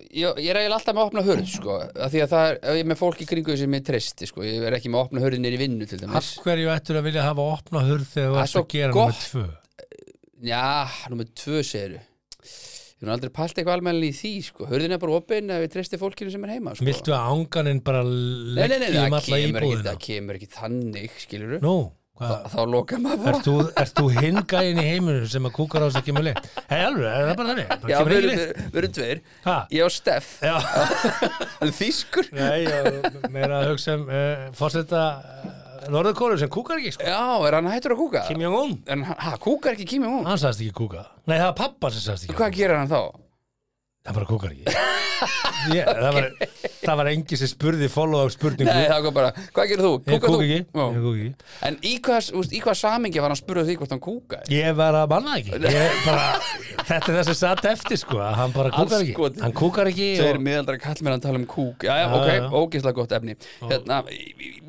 Ég, ég er eiginlega alltaf með að opna hurð sko af Því að það er, ef ég er með fólk í kringu sem ég treysti sko Ég er ekki með að opna hurð niður í vinnu til Af dæmis hverju ættur að vilja hafa opna hurð þegar þú Það er ert svo að gera gott. nummer tvö Já, númer tvö segiru Ég er aldrei pælt eitthvað almennilega í því sko Hurðin er bara opin ef ég treysti fólkinu sem er heima sko Viltu að ánganinn bara Nei, nei, nei, leggja það um alla kemur, ekki, íbúðina það kemur ekki þannig skilur Nú, hvað, Þá loka maður bara Ert þú, ert þú hingæðin í heiminum sem að kúkar á þess að kemur leið? Hei, alveg, er það bara þannig? Það Já, kemur við ekki erum- leið? við erum tveir Ha? Ég og Steff Já. Hann er þýskur Nei, ég meira að hugsa um uh, fórseta uh, Norðurkóru sem kúkar ekki, sko. Já, er hann hættur að kúka? Kim Jong-un. En hann ha, kúkar ekki Kimi Jón Hann sagðist ekki kúka. Nei, það var pappa sem sagðist ekki. Hvað gerir hann þá? Það bara kúkar ekki. Ég, það, var, það var engi sem spurði follow-up spurningu Nei, það kom bara, hvað gerir þú? Ég Kúkar kúk þú? ekki, Já. ég kúk ekki En í hvað, úst, í hvað samingi var hann að spurða því hvort hann kúkaði? Ég var að manna ekki ég bara, Þetta er það sem satt eftir sko að Hann bara kúkar ekki Andskotinn. Hann kúkar ekki Þeir og, miðaldra kallmenn að tala um kúk Já, já, Já, ok, já. ógeðslega gott efni Hérna,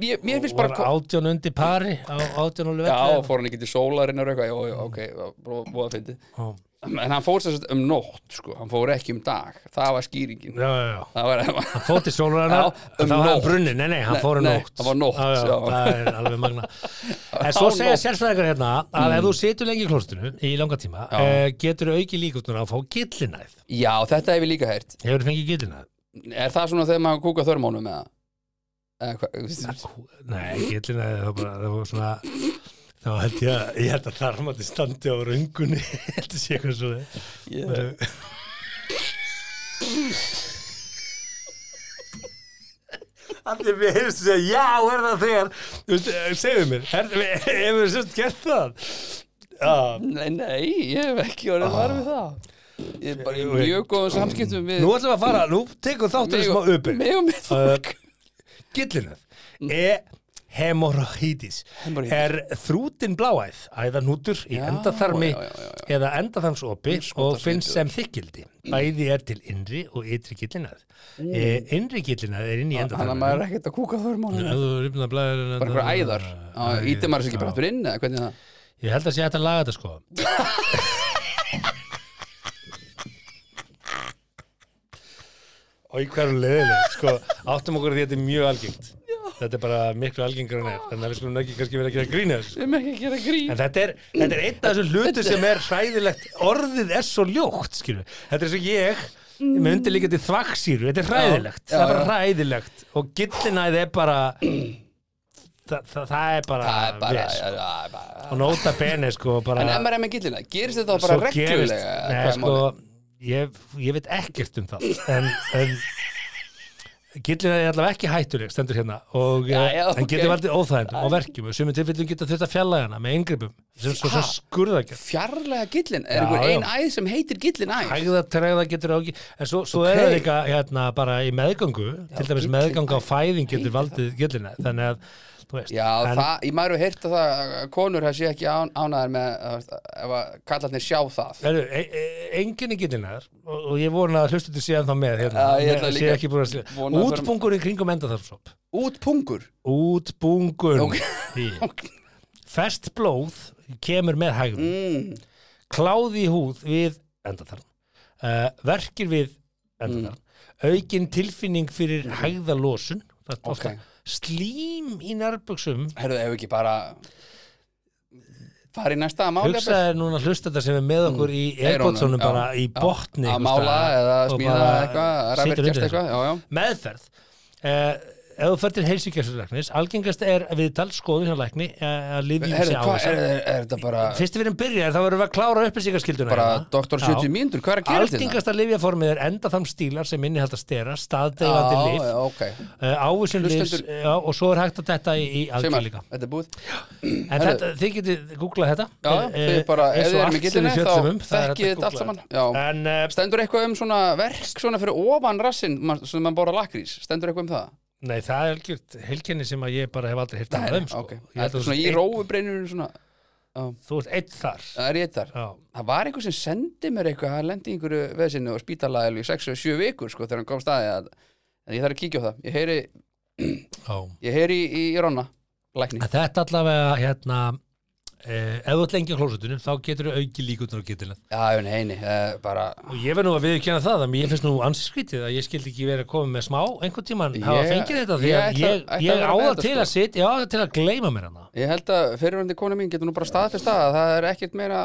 mér, mér finnst bara og átjón undir pari á átjón alveg Já, fór hann ekki til sólarinn og eitthvað, já, já, ok, það var búið að fyndið já, En hann fór sérst um nótt, sko, hann fór ekki um dag Það var skýringin já, já. Það var, hann Fór til sólar Já, hennar, um þá var hann nótt. brunni, nei, nei, hann Nei, fór um nei, nótt. það var nótt, já, já, já. Það er alveg magna. En Á svo segja nótt. Mm. sérfræðingar hérna að ef þú situr lengi í klóstinu í langa tíma, Já. uh, getur auki líkutuna að fá gillinæð. Já, þetta hef ég líka heyrt Hefur þú fengið gillinæð? Er það svona þegar maður kúka þörmónum eða? Eða hvað? Nei, gillinæð, það var bara, það var svona... Þá held ég að, ég held að þarmandi standi á röngunni, held að sé eitthvað svo þið. Yeah. Allir við heyrðum sem segja, já, er það þegar, þú veist, eh, segðu mér, er, hefur þú sérst gert það? Já, Nei, nei, ég hef ekki orðið var við það Ég er bara í Ég- mjög góðum samskiptum við Nú ætlum við að fara, nú tekum þáttir smá uppið. Mig og mig fólk Gillinuð. Uh, E hemorrhítis Hemorrhoidis. er þrútin bláæð, æðanútur í Já, endaþarmi já, já, já, eða endaþarmsopi og skotasvipur. finnst sem þykkildi. Bæði er til innri og ytri gillinað. E, innri gillinað er inn í Mm. Þannig að endaþarmi. maður er ekkert að kúka þörmónum Ef þú rifnar blæðir- Bara einhverja æðar Á, Ítir maður sér ekki bara aftur inn eða hvernig er það Ég held að sé hægt að laga þetta sko Og í hverju leðileg sko, áttum okkur á því að þetta er mjög algengt Þetta er bara miklu algengur en er Þannig að við skulum ekki kannski vera að gera grína þessu sko. Við erum ekki að gera grín En þetta er, þetta er einn af þessum hlutu sem er hræðilegt Orðið er svo ljótt, skilur við. Þetta er svo ég með undirlíkjandi þvaksýru, þetta er hræðilegt Mm. Já, Það er já, bara hræðilegt og gillinæð er bara það, það, það er bara, Það er bara ves, sko. já, já, bara- og nota bene sko bara En ef maður er með gillina, gerist þetta þá bara reglulega eða hvað Nei, er sko, málið? ég, ég veit ekkert um það en, en gillina er allavega ekki hættuleg stendur hérna og Já, eh, já, en ok. getur valdið óþægindum og verkjum og sumið tilfellum geta þurft að fjalla hana með yngripum sem svo, svo Ha? skurðagjörn Fjarlæga gillin, er Já, einhver já. ein æð sem heitir gillin æð hægða tregða getur áki en svo, svo Ok. er það líka hérna bara í meðgangu til dæmis gillin- meðganga á fæðing getur valdið gillina þannig að þú veist Já, en, það, ég maður hefur heyrt að það að konur það sé ekki án, ánæðar með þú veist, ef að kallarnir sjá það Heru, e e enginni gillinar og, og ég vona að hlustu til síðan þá með hérna, Já, ég ætla með- sé líka ekki búin að segja. vona að útbungur í kringum endaþarmsopp Út pungur útbungur Ok. fest blóð kemur með hægum mm. kláði í húð við endaþarm uh, verkir við endaþarm Mm. aukin tilfinning fyrir hægðalósun þetta Ok. okay. slím í nærböksum Herðu, hefur ekki bara farið í næsta að mála hugsaði núna hlusta þetta sem er með okkur í Mm. Eyrunum, airpodsonum bara já, í já. botni að einhvers mála staðar eða og smíða bara eitthvað, að situr rafvirkjast undir þessu. eitthvað já, já. meðferð eh, ef þú fer til heilsugjörslæknis algengast er viðtal skoðun hjá lækni eh, að lifjum Herðu, sé á hvað, þess er, er, er þetta bara, fyrst við erum byrjar þá verðum við að klára upplýsingarskylduna bara hérna. doktor Já. 70 mínútur, hvað er að gera þetta? algengasta lifjaformið er enda þann stílar sem innihald að stera staðdeifandi já, lif ok eh, ávísun lifs Hlustendur- já, og svo er hægt að detta í, í Sigmar, algjörleika þetta er búið en þetta, þið getið googlað þetta Já, Eh, þið bara, eins ef þið erum og allt í sem gillinni við hérna, þá fjöllum um, það er hægt að þekkið þetta allt googla saman Já, en eh, stendur eitthvað um svona verk svona fyrir ofan rassinn ma- sem mann borða lakrís, stendur eitthvað um það? nei, það er algjört heilkenni sem að ég bara hef aldrei hirt Nei, að nei, um sko. ok. Ég held Þetta að er svona þú í sért róubreinurinn svona, einn- þú ert eitt þar það er ég þar. já, Það var einhver sem sendi mér eitthvað, hann lendi í einhverju veðsinu og spítalaði alveg í 6-7 vikur sko þegar hann kom staði að, en ég þarf að kíkja á það. Ég heyri, já. ég heyri í, í Ronna, lækni. En Þetta allavega hérna eh, ef þú ert lengi á klósetinu þá getur þú auki líkutnar á getilin Já, nei, nei, eh, bara, og ég verð nú að viðkjanna það að mér finnst nú ansinskrítið að ég skildi ekki verið að koma með smá einhvern tíman hafa Ég- fengið þetta því ég að ætla- ég, ætla að vera ég á með það þetta, til sko. að sitja, ég á það til að gleyma mér hana ég held að fyrirvændi kona mín getur nú bara staðfest það að það er ekkert meira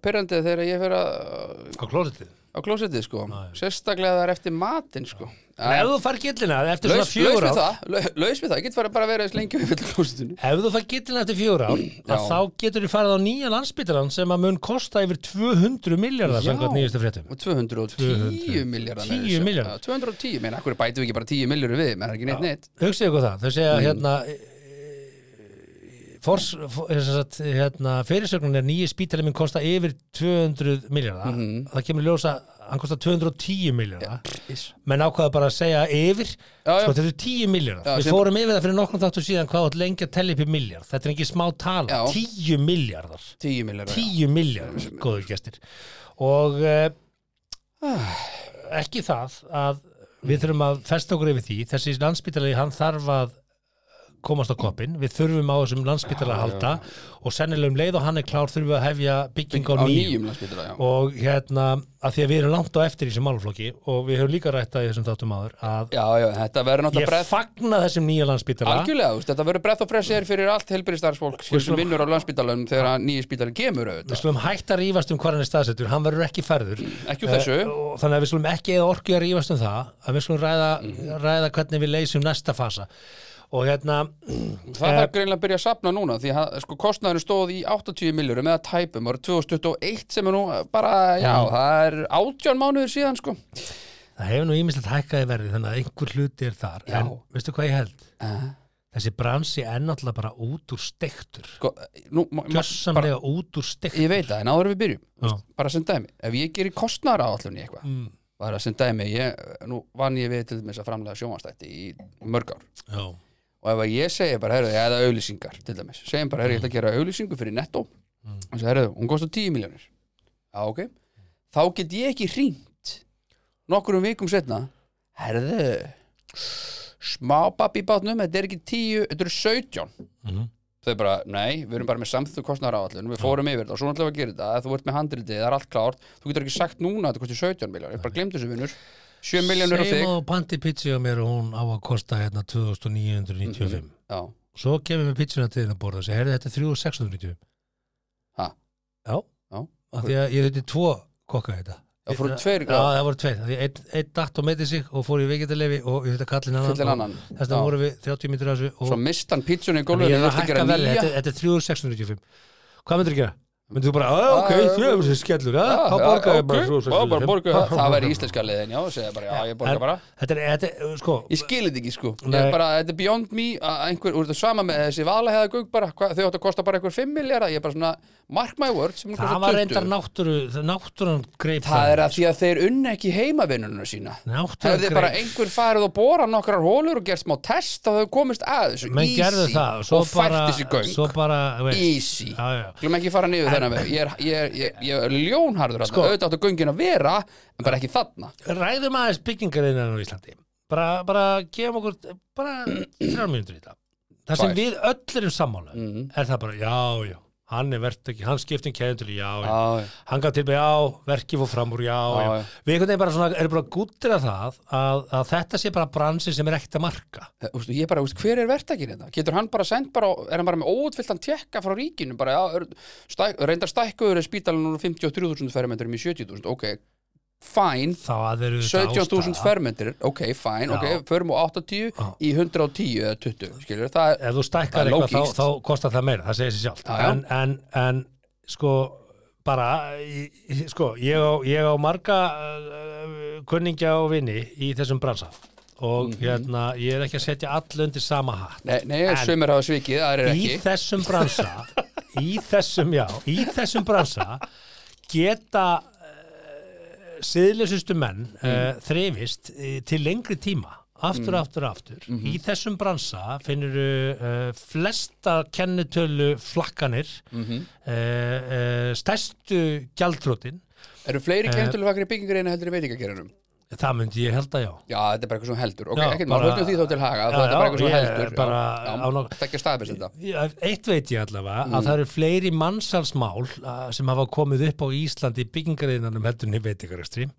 pyrrandið þegar ég fer að, eh, á klósetið á klósettið sko, sérstaklega það er eftir matinn sko. En ef Eh, þú fær getilina eftir Laus, svona laus fjögur við ár það, lau- laus við það, ég get farið bara að vera eins lengi við fyrir klósetinu. ef þú fær getilina eftir fjögur ár að Já. þá getur þú farið á nýja landsbytaran sem að mun kosta yfir 200 miljardar Já. samkvæmt nýjustu fréttum og 210 miljardar 10 milljarðar. 210, menn, akkur bætum við ekki bara 10 miljardur við menn, það er ekki neitt neitt Hugsaðu ykkur það, þau Mm. segja hérna e, e, fors, for, sem sagt, Mhm. hérna fyrirsögnin er nýji spítalinn minn kosta yfir 200 miljardar það kemur ljósa hann kostar 210 miljóna Iss. menn ákvaða bara að segja yfir Já, já. sko þetta eru 10 miljónar Já, við sem- fórum yfir það fyrir nokkrum þáttu síðan hvað átt lengi að tella upp í miljard þetta er ekki smá tala, Já. 10 miljardar 10 miljónar 10 miljardar, góður gestir og uh, ekki það að Mm. við þurfum að festa okkur yfir því þessi landsbytalegi hann þarf að komast á koppin, við þurfum á þessum landsbytala að halda og sennilega um leið og hann er klár þurfum við að hefja bygging á á nýjum nýjum landsbytala já. og hérna, að því að við erum langt á eftir í þessum málflokki og við höfum líka rætt að þessum þáttum áður að já, já, þetta verður ég náttúrulega brett fagna þessum nýja landsbytala algjörlega, þú veist, þetta verður brett og fressir fyrir allt helbriðstarfsfólk Við sem skulum- vinnur á landsbytalanum þegar að nýji spítalinn kemur við auðvitað skulum hætta að rífast um hvað hann er staðsettur hann verður ekki færður Ekki úr þessu. Eh, og þannig að við skulum ekki eða orku að rífast um það að við skulum ræða, Mhm. ræða hvernig við leysum næsta fasa og hérna það þarf greinlega að byrja að sapna núna því að sko, kostnaðurinn stóð í 80 miljórum eða tæpum ára 2021 sem er nú bara, já, það er 18 mánuður síðan sko það hefur nú ímislegt hækkaði verði þannig að einhver hluti er þar Já. en veistu hvað ég held? Eh. þessi bransi er náttúrulega bara út úr stektur sko, nú, ma- ma- bara, kjössamlega út úr stektur ég veit það, en áður en við byrjum Já. bara sem dæmi, ef ég gerir kostnara áallunni eitthvað, Mm. bara sem dæmi ég, nú vann ég við til þess að framlega sjómanstætti í mörg ár Já. og ef að ég segi bara, herrðu, eða auðlýsingar til dæmis, segjum bara, herrðu, ég ætla að gera auðlýsingu fyrir netto, mm. og svo, herrðu, hún kostar 10 miljónir já, ok þá get ég ekki hringt nokkrum vikum setna herrðu smá pappi í bátnum, þetta er ekki 10 þetta eru 17 Mhm. þau bara, nei, við erum bara með samþu kostnar áallun við fórum yfir þetta og svo náttúrulega að gera þetta að þú ert með handriti, það er allt klárt, þú getur ekki sagt núna að þetta kosti 17 miljónir, bara glemt þessu vinnur 7 miljónir á þig Seima og panti pizzi á mér og hún á að kosta hérna 2995 já, svo kemur við pizzuna til þín að borða og segir, heyrðu þetta er 3690 Ha? Já, Já. af því að ég þurfti tvo kokka í þetta það fóru tveir Já, það voru tveir, af því að einn ein datt og meiti sig og fór í vegetalefi og ég þurfti að kalla inn annan, fullir annan Og þess vegna Já. voru við 30 myndir af þessu og svo mist hann pítsunni í Þannig gólfið og ég er að þurfti að gera hækka verðið, nýja þetta, þetta er 3695 Hvað myndir þú gera? Myndir þú bara, "Á, ok, Já, já, já. þrjöfum þessi skellur, já, Já, þá já, borga ég ok, já, bara bara 3695 borga. það væri íslenska leiðin já, segja bara, já, ég borga En- bara Þetta er, þetta er, sko ég skil þetta ekki sko, ég Nei. er bara, þetta er beyond me að einhver, úr þetta sama með þessi valaheðagöng bara, hva, þau áttu að kosta bara einhver 5 miljardar ég er bara svona, mark my word sem mun Það kosta var 20. reyndar náttúru, náttúran greip það er að því að þeir unna ekki heimavinnunum sína Náttúran hefði bara einhver farið og borað nokkrar hólur og gert smá test og þau komist að þessu menn easy gerðu það svo og fært bara, þessi göng svo bara veist, Easy. já, já. Glum ekki fara niður þennan veg Ég er, ég er, ég, ég er ljónharður sko, auðvitað áttu göngin að vera en bara ekki þarna ræðum aðeins byggingariðnar á Íslandi bara, bara gefum okkur bara þrjár mínútur í þetta það sem Tvær. við öll erum sammála um Mm. er það bara, já, já, hann er verkt ekki hann skiptum kæðum til, já, já, Já, já. hann gaf til mig, já, verkið fór fram úr, já, já, já. við einhvern veginn bara svona erum bara gúttir að það að, að þetta sé bara bransi sem er ekkert að marka Eh, Ústu, ég bara, úst, hver er vertakinn þetta? Getur hann bara sendt bara, á- er hann bara með óutfylltan tekka frá ríkinu, bara, já, er- stæk, reyndar stækkuður er spítalinn úr 53.000 fermetrum í 70.000, ok, fine þá að eru þetta 17.000 ástæða. fermetrir, ok, fine, Já. ok, förum úr 80 Já. í 110 eða 20, skilur, það er ef þú Það stækkar er eitthvað lógískt. þá, þá kostar það meira, það segir sér sjálft Já, já. en, en, en sko bara, í- í- sko ég á, ég á marga uh, kunningja og vini í þessum bransa og Mhm. hérna, ég er ekki að setja all undir sama hatt Nei, nei En- sumir hafa svikið, það er í ekki þessum bransa í þessum, já, í þessum bransa geta uh, siðlesustu menn Mm. uh, þrefist uh, til lengri tíma aftur, aftur, aftur Mhm. í þessum bransa finnur uh, flesta kennitölu flakkanir mm Mhm. stærstu gjaldrótin Eru Eh. fleiri kendulegfakri byggingar einu heldur í veitingakerunum? það myndi ég held að já Já, þetta er bara eitthvað sem heldur, ok, Já, ekkert maður bara- höfnum því þá til haga, Já, þetta er bara eitthvað sem já, ég heldur er bara já, á já, nok- þetta er ekki að staðbyrst þetta Já, Eitt veit ég allavega Mm. að það eru fleiri mannsalsmál uh, sem hafa komið upp á Íslandi í byggingariðinanum heldurinn í veitingarrekstri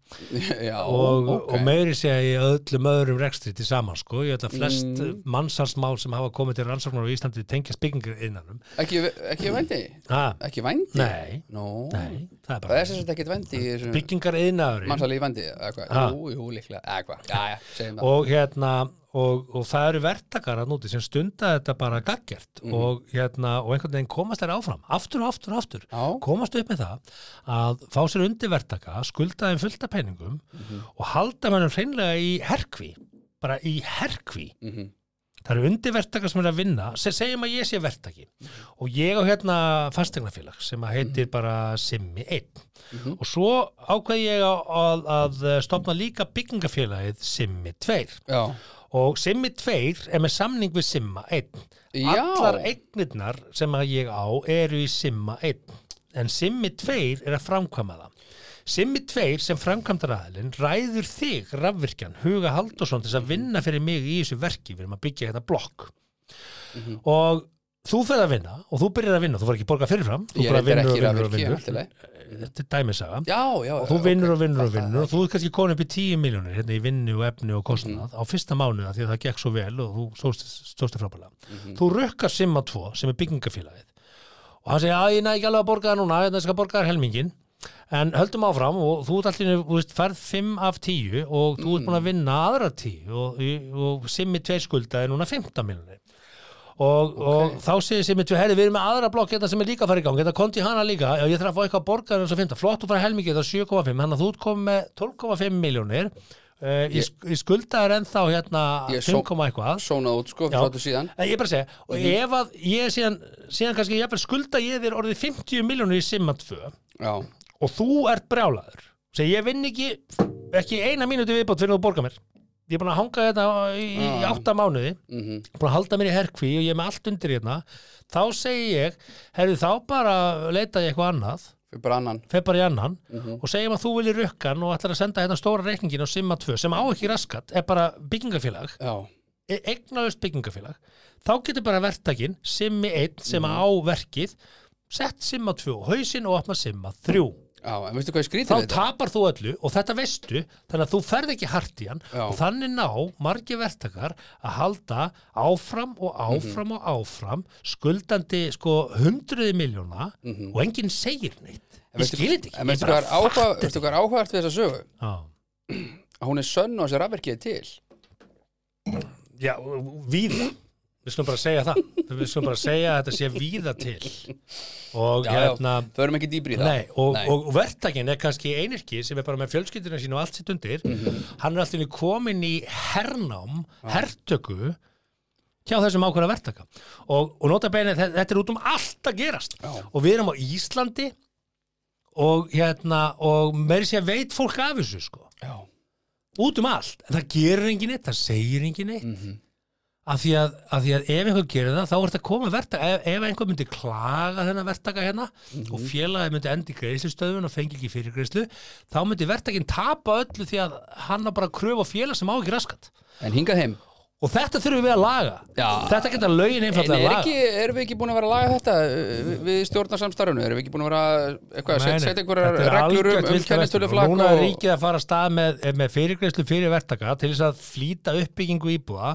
Já, og, ok. og meiri segja í öllum öðrum rekstri til saman sko, ég ætla að flest mm. mannsalsmál sem hafa komið til rannsóknar á Íslandi tengjast byggingariðinanum ekki, ekki vændi ha, ekki vændi Nei, Nó. nei, það það er er bara sem sagt ekkert vændi í þessu byggingariðinarinn mannsalegi vændi eða hvað, Ha. jú, jú, líklega eða hvað, já, já, segjum það og hérna og, og það eru vertakar að núti sem stunda þetta bara gaggert Mm. og hérna og einhvern veginn komast þær áfram aftur og aftur og aftur Já. komast upp með það að fá sér undir vertaka skulda þeim fullta Mhm. peningum og halda mönnum hreinlega í herkvi bara í herkvi Mhm. það eru undirvertakar sem er að vinna sem segjum að ég sé verktaki og ég á hérna fastegnafélag sem að heitir bara Simmi 1 og svo ákveð ég að, að, að stopna líka byggingafélagið Simmi 2 já, og Simmi 2 er með samning við Simma 1 Já. allar eignirnar sem að ég á eru í Simma 1 en Simmi 2 er að framkvæma það Simmi 2 sem framkvæmdaraðilinn ræður þig rafvirkjan Huga Haldursson til þess að vinna fyrir mig í þessu verki við erum að byggja þetta blokk Mhm. og þú ferð að vinna og þú byrjar að vinna, þú fór ekki borga fyrirfram þú Ég bara reyndar ekki vinnur og vinnur og rafvirki, vinnur allt í lagi. þetta er dæmisaga já, já og þú vinnur og vinnur og vinnur og þú ert kannski komin upp í 10 miljónir hérna í vinnu og efni og kostnað á fyrsta mánuða því að það gekk svo vel og þú stóðst- stóðst þér frábælega þú rökkar Simma 2 sem er byggingafélagið og hann segir að ég næ ekki alveg að borga það núna þannig skal borga það helmingin en höldum áfram og þú ert allir þú veist, færð 5 af 10 og þú ert búin að vinna aðra 10 og, og Simmi 2 skulda er núna 15 miljónir og, og þá segir sem við, herri, við erum með aðra blokk hérna sem er líka að fara í gang, hérna konti hana líka já, ég þarf að fá eitthvað að borga eins og 15, flott þú fara helmingi, það er 7,5, hann að Hérna, þú ert komið með 12,5 miljónir uh, ég, ég, ég skulda er ennþá hérna Ég só- 5, eitthvað Sónað út, sko, Já. frá þetta síðan Nei, Ég er bara að segja, og ef að ég síðan, síðan kannski jafnvel skulda ég þér orðið 50 miljónur í Simma 2 Já, og þú ert brjálaður segi ég vinn ekki, ekki eina mínútu viðbót fyrir þú borga mér ég er búin að hanga þetta í, í Já. átta mánuði mhm búin að halda mér í herkví og ég er með allt undir hérna þá segi ég, herðu þá bara leita ég eitthvað annað Fyrir bara annan fer bara í annan og segjum að þú viljir rökkan og ætlar að senda hérna stóra reikningin á Simma 2 sem á ekki raskat, er bara byggingafélag Já, eignaðust byggingafélag þá getur bara verktakinn Simmi 1 sem á verkið sett Simma 2 á hausinn og opna Simma 3 já, en veistu hvað ég skrýtir þá tapar þú öllu og þetta veistu þannig að þú ferð ekki hart í hann Já. og þannig ná margi verktakar að halda áfram og áfram og áfram skuldandi sko hundruði miljóna og enginn segir neitt ég skilir þetta ekki Mhm. En ég veistu hvað bara er áhuga, fatta veistu þetta hvað er áhugavert við þessa sögu? Já. Að hún er sönn og þessi rafverkið er til já, víða við skulum bara segja það við skulum bara segja að þetta sé víða til og Já, hérna já, förum ekki dýbri í það Nei, og, Nei. og verktakinn er kannski einirki sem er bara með fjölskyldina sín og allt sitt undir Mhm. hann er alltaf komin í hernám, hertöku hjá þessum ákveða verktaka og, og nota beinni, þetta er út um allt að gerast Já. og við erum á Íslandi og hérna og meiri sér veit fólk af þessu sko Já, út um allt, en það gerir engin eitt það segir engin eitt mhm, af því að, af því að ef einhver gerir það þá er þetta koma verktaka, ef, ef einhver myndi klaga þennan verktaka hérna Mhm. og félagi myndi endi greiðslustöðun og fengi ekki fyrirgreiðslu þá myndi verktakinn tapa öllu því að hann á bara að kröfa félag sem á ekki raskat En hingað heim og þetta þurfum við að laga Já. þetta geta lögin En einfallega að er laga ekki, erum við ekki búin að vera að laga þetta uh, við- við stjórnarsamstarfinu? Erum við ekki búin að vera að, eitthvað, Nei, setja nei, set einhverjar þetta er reglur um, algjört um vilda kennistöluflakk vestrun. Núna er ríkið að fara að stað með, með fyrirgreiðslu fyrir verktaka til þess að flýta uppbyggingu íbúa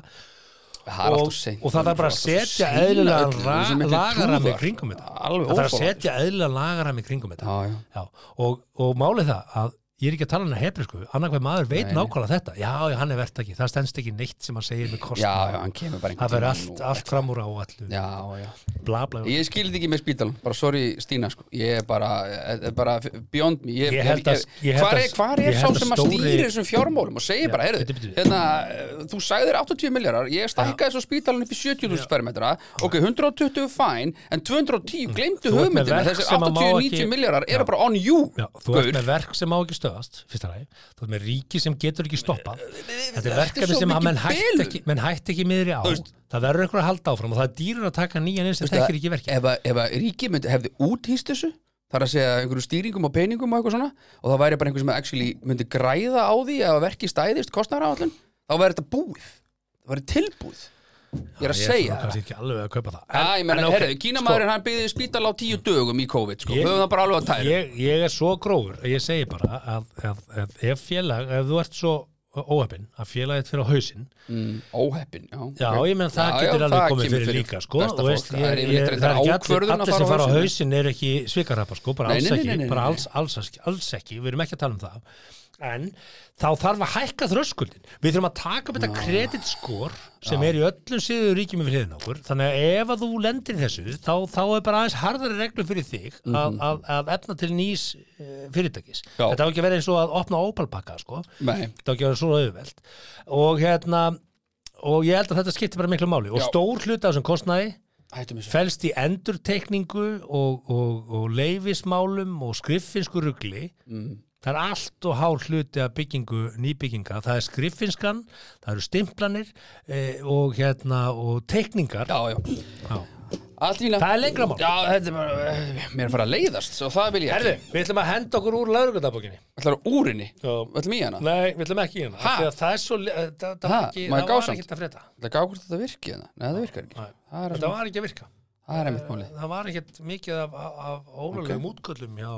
Það er og, alltaf seint og það þarf bara að setja eðlilegan ra- lagarammi kringum þetta Alveg það þarf að óþolandi. setja eðlilegan lagarammi kringum þetta Já, já. Já, og, og málið það að ég er ekki að tala hann að hebrisku annar hver maður veit Nei. nákvæmlega þetta já, já, hann er verktaki, það stendst ekki neitt sem hann segir með kost Já, já, hann kemur bara það einhvern fer tímann allt, og- allt fram úr á allu Já, já bla, bla, bla. Ég skilði ekki með spítalum, bara sorry Stína sko. Ég er bara, eh, eh, bara beyond me ég, Ég held að- ég held hvar, að- er, hvar er ég sá held að sem að stóri- stýri þessum fjármálum og segir Já, bara, heyrðu, bíddu, bíddu. hérna eh, þú sagðir 80 miljardar, ég stækkaði svo spítalun upp í 70.000 fermetra, ok, 120 fæn, en 210, glemdu Mm. Þú ert með hugmyndina, verk þessir sem að má 80-90 ekki- miljardar Já. eru bara on you Já, þú ert með verk sem má ekki stöðast fyrsta ræði, þú ert með ríki sem getur ekki stoppað þetta þetta er er verkefni svo sem að mikil menn hætt bilun. ekki menn hætt ekki miðri á, Þú veist- það verður einhver að halda áfram og það er dýrun að taka nýjan eins sem Veistu það, þekkir ekki verkið ef, að- ef að ríki myndi, hefði úthýst þessu þar að segja einhverju stýringum og peningum og eitthvað svona og það væri bara einhver sem actually myndi græða á því ef að verki stæðist kostnaraáallun þá væri þetta búið, það væri tilbúið ég er að Ég segja er það kannski ekki alveg að kaupa það Já, ég menna, ok, sko, herru, kínamaðurinn hann byggði spítal á tíu dögum í COVID, sko, Ég- höfum það bara alveg að tæra ég, ég er svo grófur að ég segi bara að, að, að ef félag, ef þú ert svo óhefinn að félagið fyrir á hausinn mm, Óheppin, já já, ok. ég menn það Já, getur já, alveg það komið kemur fyrir, líka sko, besta fólk. þú veist, Það ég, er ég, yfirleitt það er þetta ekki allir, ákvörðun að allir sem fara á hausinn. hausinn er ekki svikarrappa sko, bara Nei, nei, alls nei, ekki nei, nei, bara nei. alls, alls, alls, alls ekki, við erum ekki að tala um það en þá þarf að hækka þröskuldin við þurfum að taka upp þetta kreditskor sem er í öllum síður ríkjum yfir hliðin okkur þannig að ef að þú lendir í þessu þá, þá er bara aðeins harðari reglu fyrir þig að, að, að efna til nýs uh, fyrirtækis Mhm. Já. þetta á ekki að vera eins og að opna ópalpakka sko Nei, þetta á ekki að vera svona auðveld og hérna og ég held að þetta skiptir bara miklu máli og Já. stór hluti af þessum kostnaði Hættum þessu felst í endurtekningu og, og, og leifismálum og skriffinsku rugli mm. það er allt og hár hluti af byggingu nýbygginga, það er skriffinskan það eru stimplanir eh, og hérna og teikningar Já, já Já. Allt í lína það er lengra mál Já, þetta er bara eh, Mér er að fara að leiðast og það vil ég Herðu, við ætlum að henda okkur úr laurugundabókinni Það er úrinni Nei, Það er mjög hana við ætlum ekki í hana Ha? af því að það er svo, le- það, Ha? það, var ekki, Maður það var gásamt. ekki að frétta Það er gáður þetta virki hérna Nei, það virkar ekki Nei. Það er, þetta var ekki að virka það er einmitt máli það var ekkert mikið af, af- af ólulegum útköllum hjá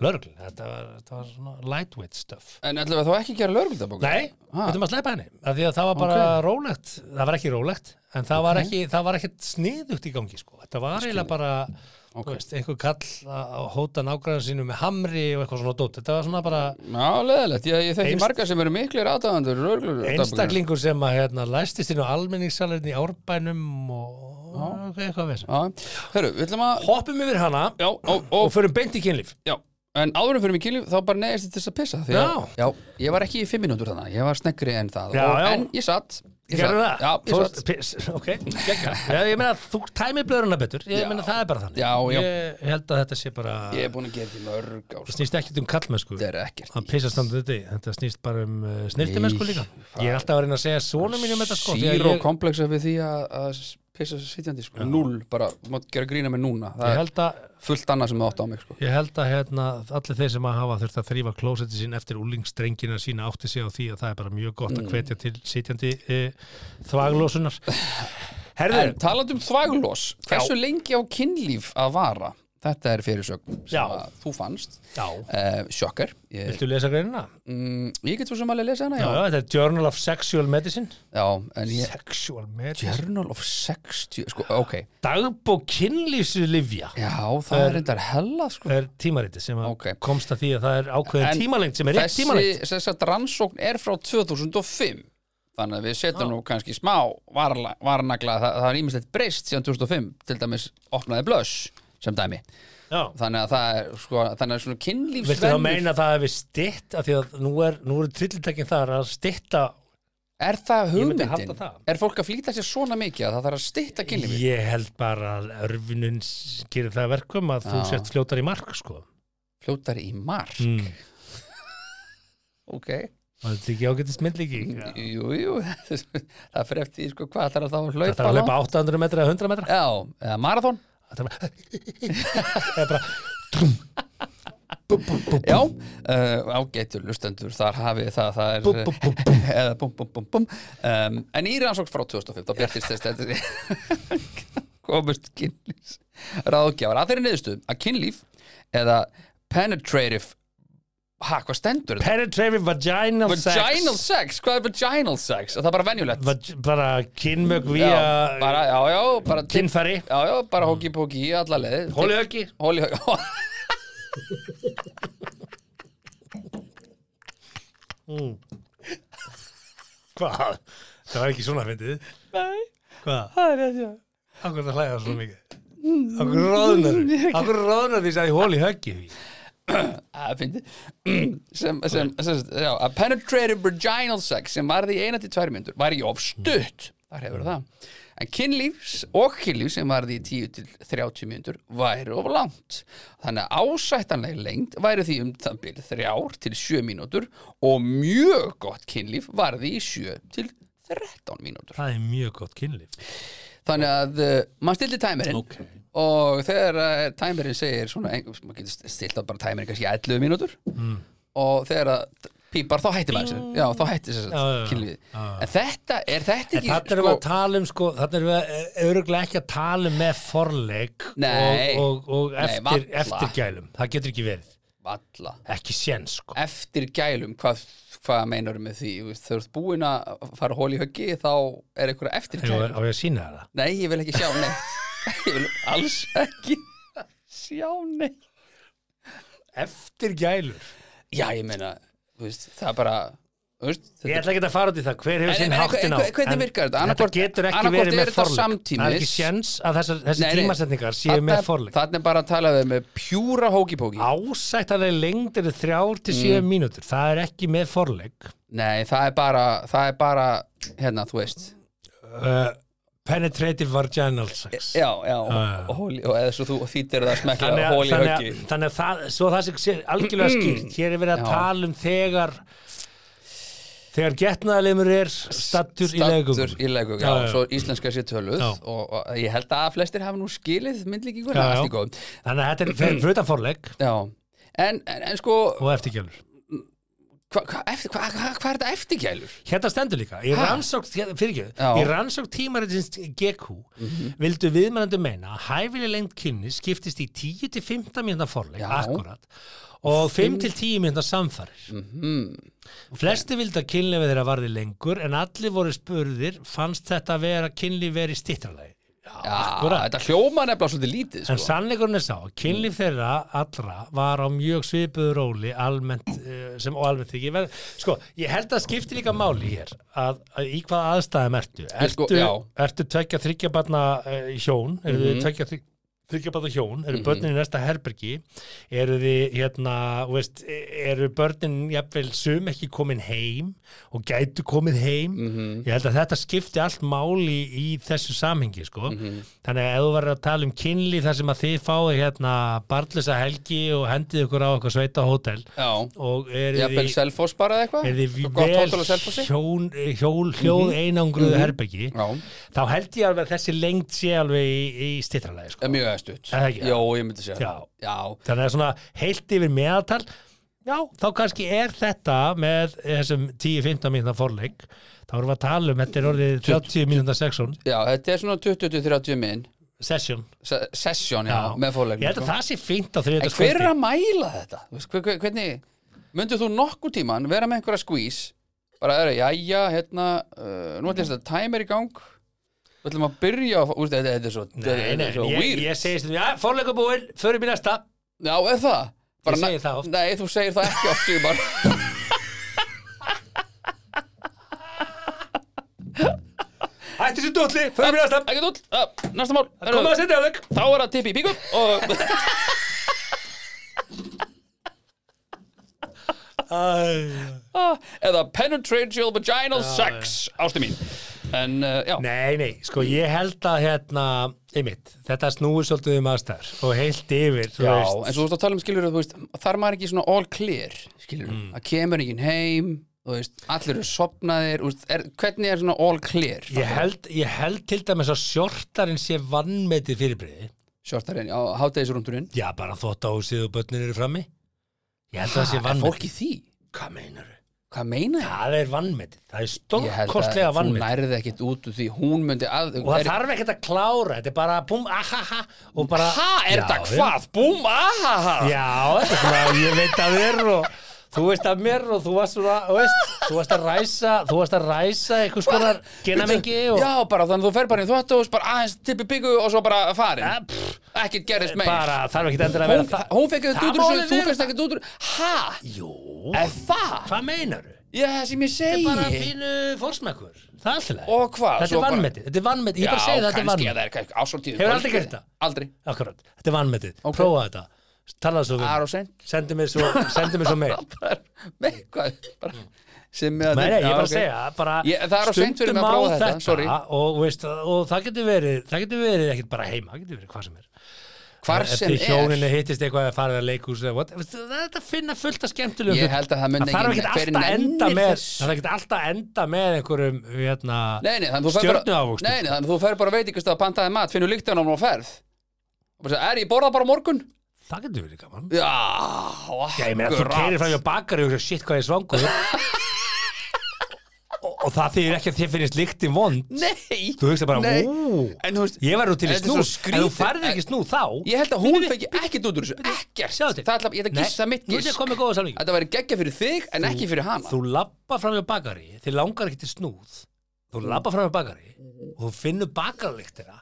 lörglun þetta var, þetta var svona lightweight stuff En ætlum við þá ekki að gera lörguldabók Nei, Ha. við ætlum að sleppa henni af því að það var bara Ah. Ok. rólegt það var ekki rólegt, en það var ekki það var ekkert sniðugt í gangi sko. þetta var eiginlega bara okay. Ok. veist, einhver kall að að hóta nágræðan sínu með hamri og eitthvað svona dót þetta var svona bara Já, leðilegt, ég, ég þekki Einst- marga sem eru miklir aðdáðandur Einstakling einstaklingur sem að hérna, læstist inn á almenningssalerni í árbænum og og eitthvað við Hörru, við ætlum að hoppum yfir hana Já, og, og og, förum beint í kynlíf já En áðurum fyrir mig kynlíf, þá bara neðist til þess að pissa því að, Já. já, ég var ekki í fimm mínútur þannig Ég var sneggri en það Já, og, já. En ég satt ég satt. Gerðu það? Já, ég satt Fórst- piss, ok, geggja Já, ég meina, þú tæmir blöðurna betur Ég Já. meina, það er bara þannig Já, já. Ég held að þetta sé bara Ég er búin að gera því mörg á Það snýst ekkert um kallmennsku Þetta er ekkert Að pissa standið þetta Þetta snýst bara um uh, snirtimennsku Nei, líka það- Ég er alltaf að reyna að segja svona mínum þetta sko því að Zero ég, komplexa við því að, að pissa sitjandi sko. Null, bara, þú mátt gera grína með núna Það ég er held að fullt annað sem það átt á mig sko. Ég held að hérna, allir þeir sem að hafa þurft að þrýfa klósetti sín eftir úlingsdrengina sína átti sig á því að það er bara mjög gott Mm. að hvetja til sitjandi uh, þvaglósunar. Herður, En talandi um þvæglós Hversu lengi á kynlíf að vara? Þetta er fyrirsögn sem Já. að þú fannst já, uh, Sjokkar ég, viltu lesa greinina? mm, ég get svo sem alveg að lesa hana Já, Já, já, þetta er Journal of Sexual Medicine já en ég Sexual Medicine Journal of 60 sko, Ok, Dagbók kynlýslivja já, það er reyndar hella sko. er tímariti sem að Ok. komst að því að það er ákveðin En tímalengt sem er rétt Þessi, tímalengt þess að rannsókn er frá 2005 Þannig að við setjum nú kannski smá varla- varnagla, það, það er ímislegt breyst síðan 2005, til dæmis opnaði blöss sem dæmi. Já, Þannig að það er, sko, þannig að svona viltu það kynlífsvennur meina að það hefur stytt af því að nú er, nú er trillitakin þar að stytta Er það Ég myndi hugmyndin? halda það. Er fólk að flýta sér svona mikið að það þarf að stytta kynlífi? Ég held bara að örfinun s- gerir það að verkum að þú Já. sért fljótar í mark sko Fljótar í mark, mm. ok Það er ekki ágættist myndlíking Jú, jú, það fyrir eftir því, sko, hvað þarf það að hlaupa Það þarf að lepa 800 metra eða 100 metra Já, eða marathon Það þarf að Það er bara Já, uh, ágætur lustendur þar hafið það, það er Búm, búm, búm, eða búm, búm, búm, búm um, en í rannsókn frá 2005 þá byrtist þess þetta komust kynlífs ráðgjafar að þeirri niðurstöðum að kynlíf eða penetrative ha, hvað stendur þetta? Penetrative vaginal, Vaginal sex sex, hvað er vaginal sex? Það er bara venjulegt Vag Bara kynmök já, via bara, já, já, bara kynfæri já, já, bara hóki póki í alla leið Hóli öggi Hóli högg Hvað? Það var ekki svona fyndið Nei, Hvað? það er rétt, já. Akkur það hlæða svona mikið Akkur Mm. ráðnar Akkur ráðnar því sagði hóli höggi að fyndi Ah, sem, sem, sem, já, að penetrative vaginal sex sem varði í eina til tvær myndur var í of stutt þar hefur það en kynlífs og kynlíf sem varði í 10 til 30 myndur væri of langt þannig að ásættanleg lengd væri því um það byrð 3 til 7 mínútur og mjög gott kynlíf varði í 7 til 13 mínútur Það er mjög gott kynlíf þannig að uh, maður stillir tæmirinn Ok. og þegar uh, tæmirinn segir svona, ein- maður getur stilt að bara tæmirinn kannski í 11 mínútur mm. og þegar að pípar þá hættir maður sér já þá hættir sér Já, já, já. kynlífið en þetta, er þetta En ekki þarna erum við að tala um sko Þarna erum við öruglega ekki að tala um með forleik Nei. Og, og, og Nei, eftir, varla. eftirgælum Það getur ekki verið valla Ekki sén sko eftir gælum, hvað hvað meinar með því, Þú veist, þegar þú ert búin að fara hól í höggi þá er einhverja eftir Á gælum á ég að sína það nei, ég vil ekki sjá neitt ég vil alls ekki sjá neitt Eftirgælur já, ég meina, þú veist, það er bara þú veist, þetta Ég ætla ekki að fara út í það, hver hefur En- sinn en- en- háttin á en- hvernig En virkar þetta? Þetta Annaðhvort- getur ekki annaðhvort verið eru með þetta forleik Það er samtímis. ekki séns að þessar, þessi Nei, nei. tímasetningar séu með forleik Þannig er bara að tala við með pjúra hókipóki Ásættalega lengd eru þrjár til sjö Mm. mínútur Það er ekki með forleik Nei, það er bara, það er bara hérna, þú veist uh, penetrative vaginal sex Já, já, já. og hóli, og eða svo þú þýttir það smekla þannig að, hóli þannig höggi Mm. að, þannig að það, svo það sem sé algjörlega skýrt hér er verið að Já. tala um þegar þegar getnaðalimur er stattur í legum Staddur í legum, já, Já, já. svo íslenska sé töluð Já. og, og ég held að flestir hafa nú skilið myndlíkinguna, Já, já. allt í góðum þannig að þetta er fyrir fruta forleg Já, en, en, en sko og eftirgjölur hvað hva, eftir- hva, hva, hva er þetta eftirgælur? hérna stendur líka, í Ha? rannsókt fyrirgjöð, Já. Mhm. í rannsókt tímaritins GQ, vildu viðmennandi meina að hæfileg lengd kynni skiptist í 10-15 mínúta forleg, Já. akkurat og 5-10 mínúta samfarir Mhm. flesti vildu að kynlefið þeirra varði lengur en allir voru spurðir fannst þetta að vera kynlíf verið stittralagi Já, akkurat. Ah, þetta hljóma nefnilega svolítið lítið En sko. Mm. sannleikurinn er sá, að kynlíf þeirra allra var á mjög svipuðu róli almennt, eh, sem og almennt þykir verð. Sko, ég held að skipti líka máli hér að, að í hvaða aðstæðum ertu. sko, Ertu, já. ertu tvekja þryggjabarna uh, hjón, eru Mhm. þið tvekja þryggjabarna hjón, eru börnin í næsta herbergi, eru þið hérna, þú veist, e, eru börnin jafnvel sum ekki komin heim og gætu komið heim. Mhm. Ég held að þetta skipti allt máli í þessu samhengi, sko. Mhm. Þannig að ef þú verður að tala um kynli þar sem að þið fáið hérna barnlösa helgi og hendið ykkur á eitthvað sveita hótel Já, og eru jafnvel þið, selfos bara eða eitthvað er þið Svo gott hótel á vel Selfossi? Mhm. hjón, hjól, hljóð einangruðu herbergi, Já, þá held ég alveg að þessi lengd sé alveg í, í stittralagi, er sko. mjög eðstutt Er það ekki? Jó, ég myndi segja Já. það. Já, Þannig að svona heilt yfir meðaltal, já, þá kannski er þetta með þessum 10-15 mínúna forleik, þá erum við að tala um, þetta er orðið 30 mínúna session, já, þetta er svona 20-30 minn session. se- session, já, Já. með fórleiknum Ég held að það sé fínt á En þriðutaskvöldi. hver er að mæla þetta? Þú veist, hver- hver- Hvernig, myndir þú nokkuð tíman vera með einhverja skvís bara er að, jæja, hérna uh, nú ætlum þetta timer í gang við ætlum að byrja á, úst, þetta, þetta er svo, þetta Nei, er nei, svo ég, weird ég segi stundum, já, forleikur búinn, förum í næsta Já, er það? Ég na- segi það oft. Nei, þú segir það ekki oft, Sigmar Hættu sér dótli, förum í næsta Ekki dúll, uh, næsta mál Komum að setja þig Þá er það tippi í píkum og eða penetrational vaginal sex ástu mín en uh, já, Nei, nei, sko, ég held að hérna, einmitt, þetta snúi svolítið um aðstæður og heilt yfir, þú já veist en svo þú veist að tala um skilur þú veist, þar maður ekki svona all clear skilur, það kemur enginn heim þú veist, allir eru sopnaðir þú veist, er, hvernig er svona all clear Ég held, ég held til dæmis að sjortarinn sé vannmetið fyrirbriði sjortarinn, já, hátæðisrúndurinn Já, bara þótt á húsið og börnin eru frammi Ég held að það sé er vannmetið fólk í því? Hvað meinar þau? Hvað meina ég? Það er vannmetið, það er Ég held að stórkostlega þú vannmetið nærði ekkit út úr því hún myndi að Og það er, þarf ekkert að klára, þetta er bara búm, ahaha og bara... ha, er Já, það já. hvað? Búm, ahaha Já, þetta er svona, ég veit að þér og þú veist að mér og þú varst svona, þú veist, þú varst að ræsa, þú varst að ræsa einhvers konar genamengi og... Já, bara þannig að þú fer bara í þvóttahús bara aðeins tippi byggu og svo bara farin Ja, pff, ekkert gerist meir bara þarf ekkert endur að hún, vera það. hún fekk Það eitthvað út úr málið þessu, þú er- fekst ekkert út úr ha, Jú, er það? hvað meinaru? Já, það sem ég segi Bara fínu fórsmekkur, það er alltaf. Og hvað, Þetta svo er bara- vannmetið, þetta er vannmetið, ég bara segi það, þetta er kannski að vannmetið. það er kannski ásvöldtíð Hefur aldrei gert það? Aldrei, Akkurat, þetta er vannmetið, Ok. prófa þetta, talaðu svo það er við, og sent sendu mér svo, sendu mér svo mail. Bara- Nei, hvað bara- sem ég Mm. Nei, nei, ég er Já, bara ok. að segja, bara Ég- það er of seint fyrir mig að stundum prófa á þetta, sorry. og, veist, og það getur verið, það getur verið ekkert bara heima, það getur verið hvað sem er. Hvar sem er Eftir hjóninu hittist eitthvað að fara að leikhús eða what, veist, það er þetta að finna fullt að skemmtilegum Ég hlutum. held að það muni þarf enginn- ekkert hver alltaf að enda nennir með, þessu? það er ekkert alltaf að enda með einhverjum, hérna, Nei, nei, þannig að þú fer bara Stjörnuávöxtum. Nei, nei, þannig að þú fer bara veit ykkur að pantaði mat finnur líktan á hún og ferð Og bara segja, Er ég borða bara á morgun? það getur verið gaman. Já, Já, ég meina, þú keirir fram hjá bakari og hugsa, shit hvað ég er svangur. og, og það þýðir ekki að þér finnist líktin vond. Nei Þú hugsa bara, Nei. ú, En þú veist ég verður til í Þetta er snú, svo en þú skrýtið. færði ekki snú þá. Ég held að hún fengi ekkert út úr þessu Ekkert Sjáðu til. Það ætla ég ætla að Nei, gissa mitt nú er gisk þetta komið góða samlingi. Þetta væri geggja fyrir þig en ekki fyrir hana þú lappa fram hjá bakari þið langar ekki til snúð Mm. þú lappa fram hjá bakari og þú finnur bakarlíktina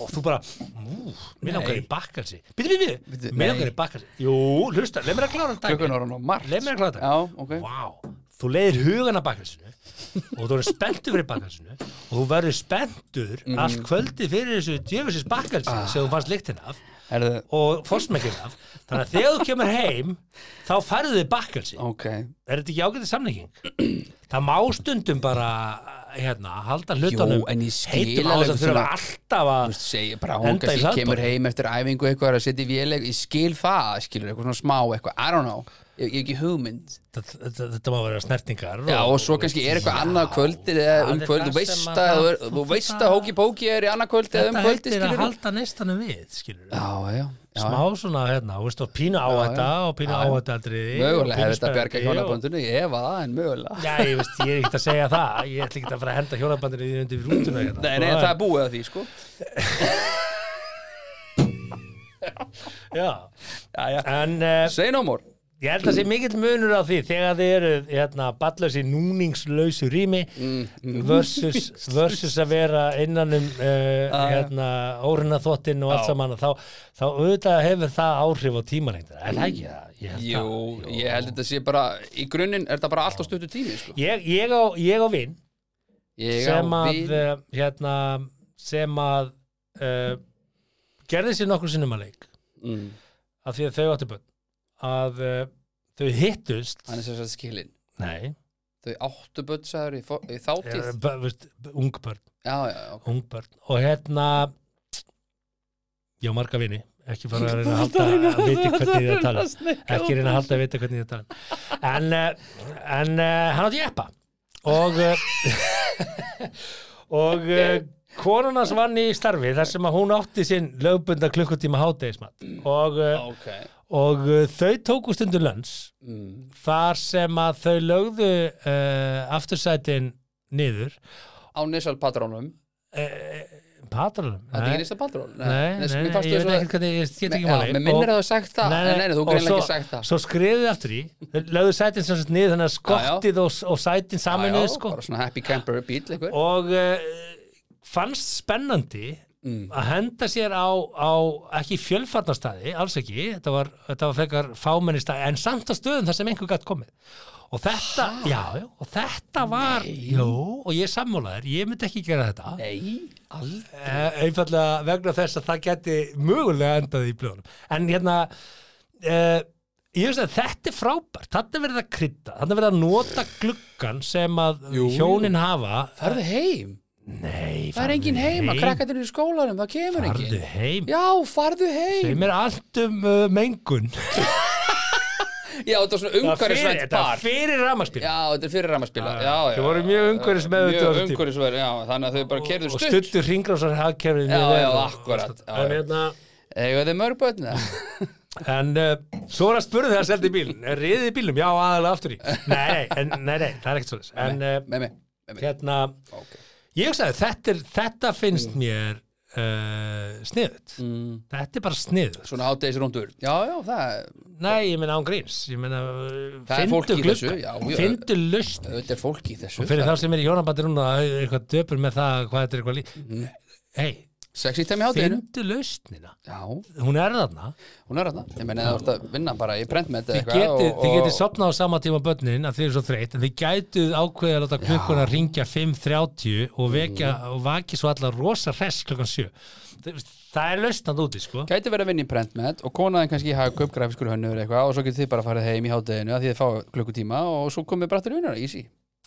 og þú bara mú, mér langar í bakarsi byrju, byrju, Bíddu, mér nei. langar í bakarsi jú, hlusta, leið mér að klára þetta Klukkan var hann á margt leið mér að klára þetta Já, ok Vá, þú leiðir hugan að bakarsinu og þú verður spenntur fyrir bakarsinu og þú verður spenntur Mhm. allt kvöldið fyrir þessu djöfusins bakarsin Ah. sem þú fannst lyktin af Herðu og fórsmekkin af þannig að þegar þú kemur heim þá færðu þið bakarsin Ok er þetta ekki ágætið samlíking? það má stundum bara hérna, halda hlutunum Jú, en ég skil heitum á alveg þess að þurfa svona- alltaf Þú að veist, segir bara hún Enda í kannski hlaðborð. kemur heim eftir æfingu eitthvað er að setja í véleg, ég skil það skilur eitthvað svona smá eitthvað, I don't know ég ég hef ekki hugmynd þetta, þetta- þetta má vera snertingar Já, og svo kannski er eitthvað Já, annað kvöldi eða um það er kvöld, það þú veist sem að að- þú er- þú veist að hóki póki er í annað kvöldi eða um þetta kvöldi, heitir að skilur halda neistanum við skilur Já, já, já smá svona hérna, þú veist, og pínu á þetta og pínu Já, á já. þetta atriði og Mögulega pínu hefur þetta bjarga spennandi og- hjónaböndinu, ég hefa það en mögulega Já, ég veist, ég er ekkert að segja það ég ætla ekkert að fara að henda hjónabandinu því undir rútuna hérna. Nei, nei, það er búið að því, sko Já, Já, já en uh, Say no more Ég held að sé mikill munur á því þegar þið eru hérna, ballösi núningslausu rými Mm, versus, versus að vera innan um uh, hérna, óruna þóttinn og allt Já. saman og þá, þá auðvitað hefur það áhrif á tímanengdina. Er það ekki það? Ég held Jú, það. ég held þetta sé bara Í grunninn er þetta bara allt á stuttu tími, sko Ég, ég, á, ég á vinn Ég á sem að, vin- uh, hérna, sem að uh, gerði sér nokkur sinnum að leik Mm. af því að þau áttu bönn að uh, þau hittust Hann er sem sagt skilinn Nei, Þau áttu börn sagður í, fo- í þáttíð eh, bö- veist, ungbörn Já, já, já ok. ungbörn og hérna já, marga vini ekki fara að reyna að halda að viti hvernig þið tala ekki reyna að halda að vita hvernig þið tala en, eh, en eh, hann átti jeppa og eh, og eh, konan hans vann í starfi þar sem að hún átti sinn lögbunda klukkutíma hádegismat og, eh, Ok og eh, þau tóku stundur lönns mm. þar sem að þau lögðu uh, aftursætin niður Á Nissal Patrónum Patrunum Þetta er ekki sko, Nissal Patrón Nei, nei, nei, ég veit ekkert hvernig, ég get ekki máli Mér minnir að þú hafir sagt það Nei, nei, þú og greinlega svo- ekki sagt það Svo skriðið aftur í, þeir lögðu sætin sem sagt niður þannig að skottið og, og sætin Já, saminuð já, sko Bara svona happy camper bíl eitthvað og uh, fannst spennandi Mm. að henda sér á, á ekki fjölfarnastæði, alls ekki þetta var, þetta var frekar fámenni staði en samt á stöðum þar sem einhver gætt komið og þetta, já, já, og þetta var jú, og ég sammálaður, ég myndi ekki gera þetta Nei, aldrei Eh, einfallega vegna þess að það geti mögulega endað í blöðunum en hérna uh, ég veist að þetta er frábært þetta er verið að krydda, þetta er verið að nota gluggan sem að Jú, jú. hjónin hafa Farðu heim Nei, Það er enginn heim að krakka þetta í skólanum Það kemur Farðu enginn heim Já, farðu heim Þeim er allt um uh, mengun Já, þetta er svona umhverfisvænt þetta bar fyrir ramaspil Já, þetta er fyrir rammarspila Já, Já, já, þau voru já, mjög já, umhverfismeðvituð á Mjög þessum tíma. umhverfisverð, já, þannig að þau bara kerðu og stutt stuttur hringrásar hagkerfið Já, mjög vel já, og- akkurat, já, en, já. hérna, Eða þið mörg börn eða? en uh, svo er að spurði það að seldi bílinn er riðið í bílum, já aðalega aftur í nei, nei, en, nei, nei, það er ekkert svolítið en uh, Með mig, með mig hérna, Ok. ég hugsaði þetta, er, þetta finnst Mm. mér uh, sniðut þetta er bara sniðut Svona átegis rundur Já, já, það er nei, ég meina án gríns ég meina, Það er fólk í þessu, já, já. Eh, findu lust Þetta er fólk í þessu og fyrir þá sem er í hjónabandi núna það er eitthvað döpur með það hvað þetta er eitthvað lí Mm. hei, Sexy time í hátteginu findu lausnina Já, hún er þarna, hún er þarna Ég meni, þú ert að vinna bara í prentmet eða þið eitthvað getið og- þið og- getið sopnað á sama tíma börnin að þið eru svo þreytt, en þið gætuð ákveðið að láta klukkuna ringja 5.30 og vekja og vaki svo allar rosa hress klukkan 7 það, það er lausnand úti, sko Gæti verið að vinna í prentmet og konaðin kannski í hagkaup grafiskur hönnur eitthvað og svo getið þið bara farið heim í hátteginu að því þið fá klukkutíma og svo komið brattur unnur, easy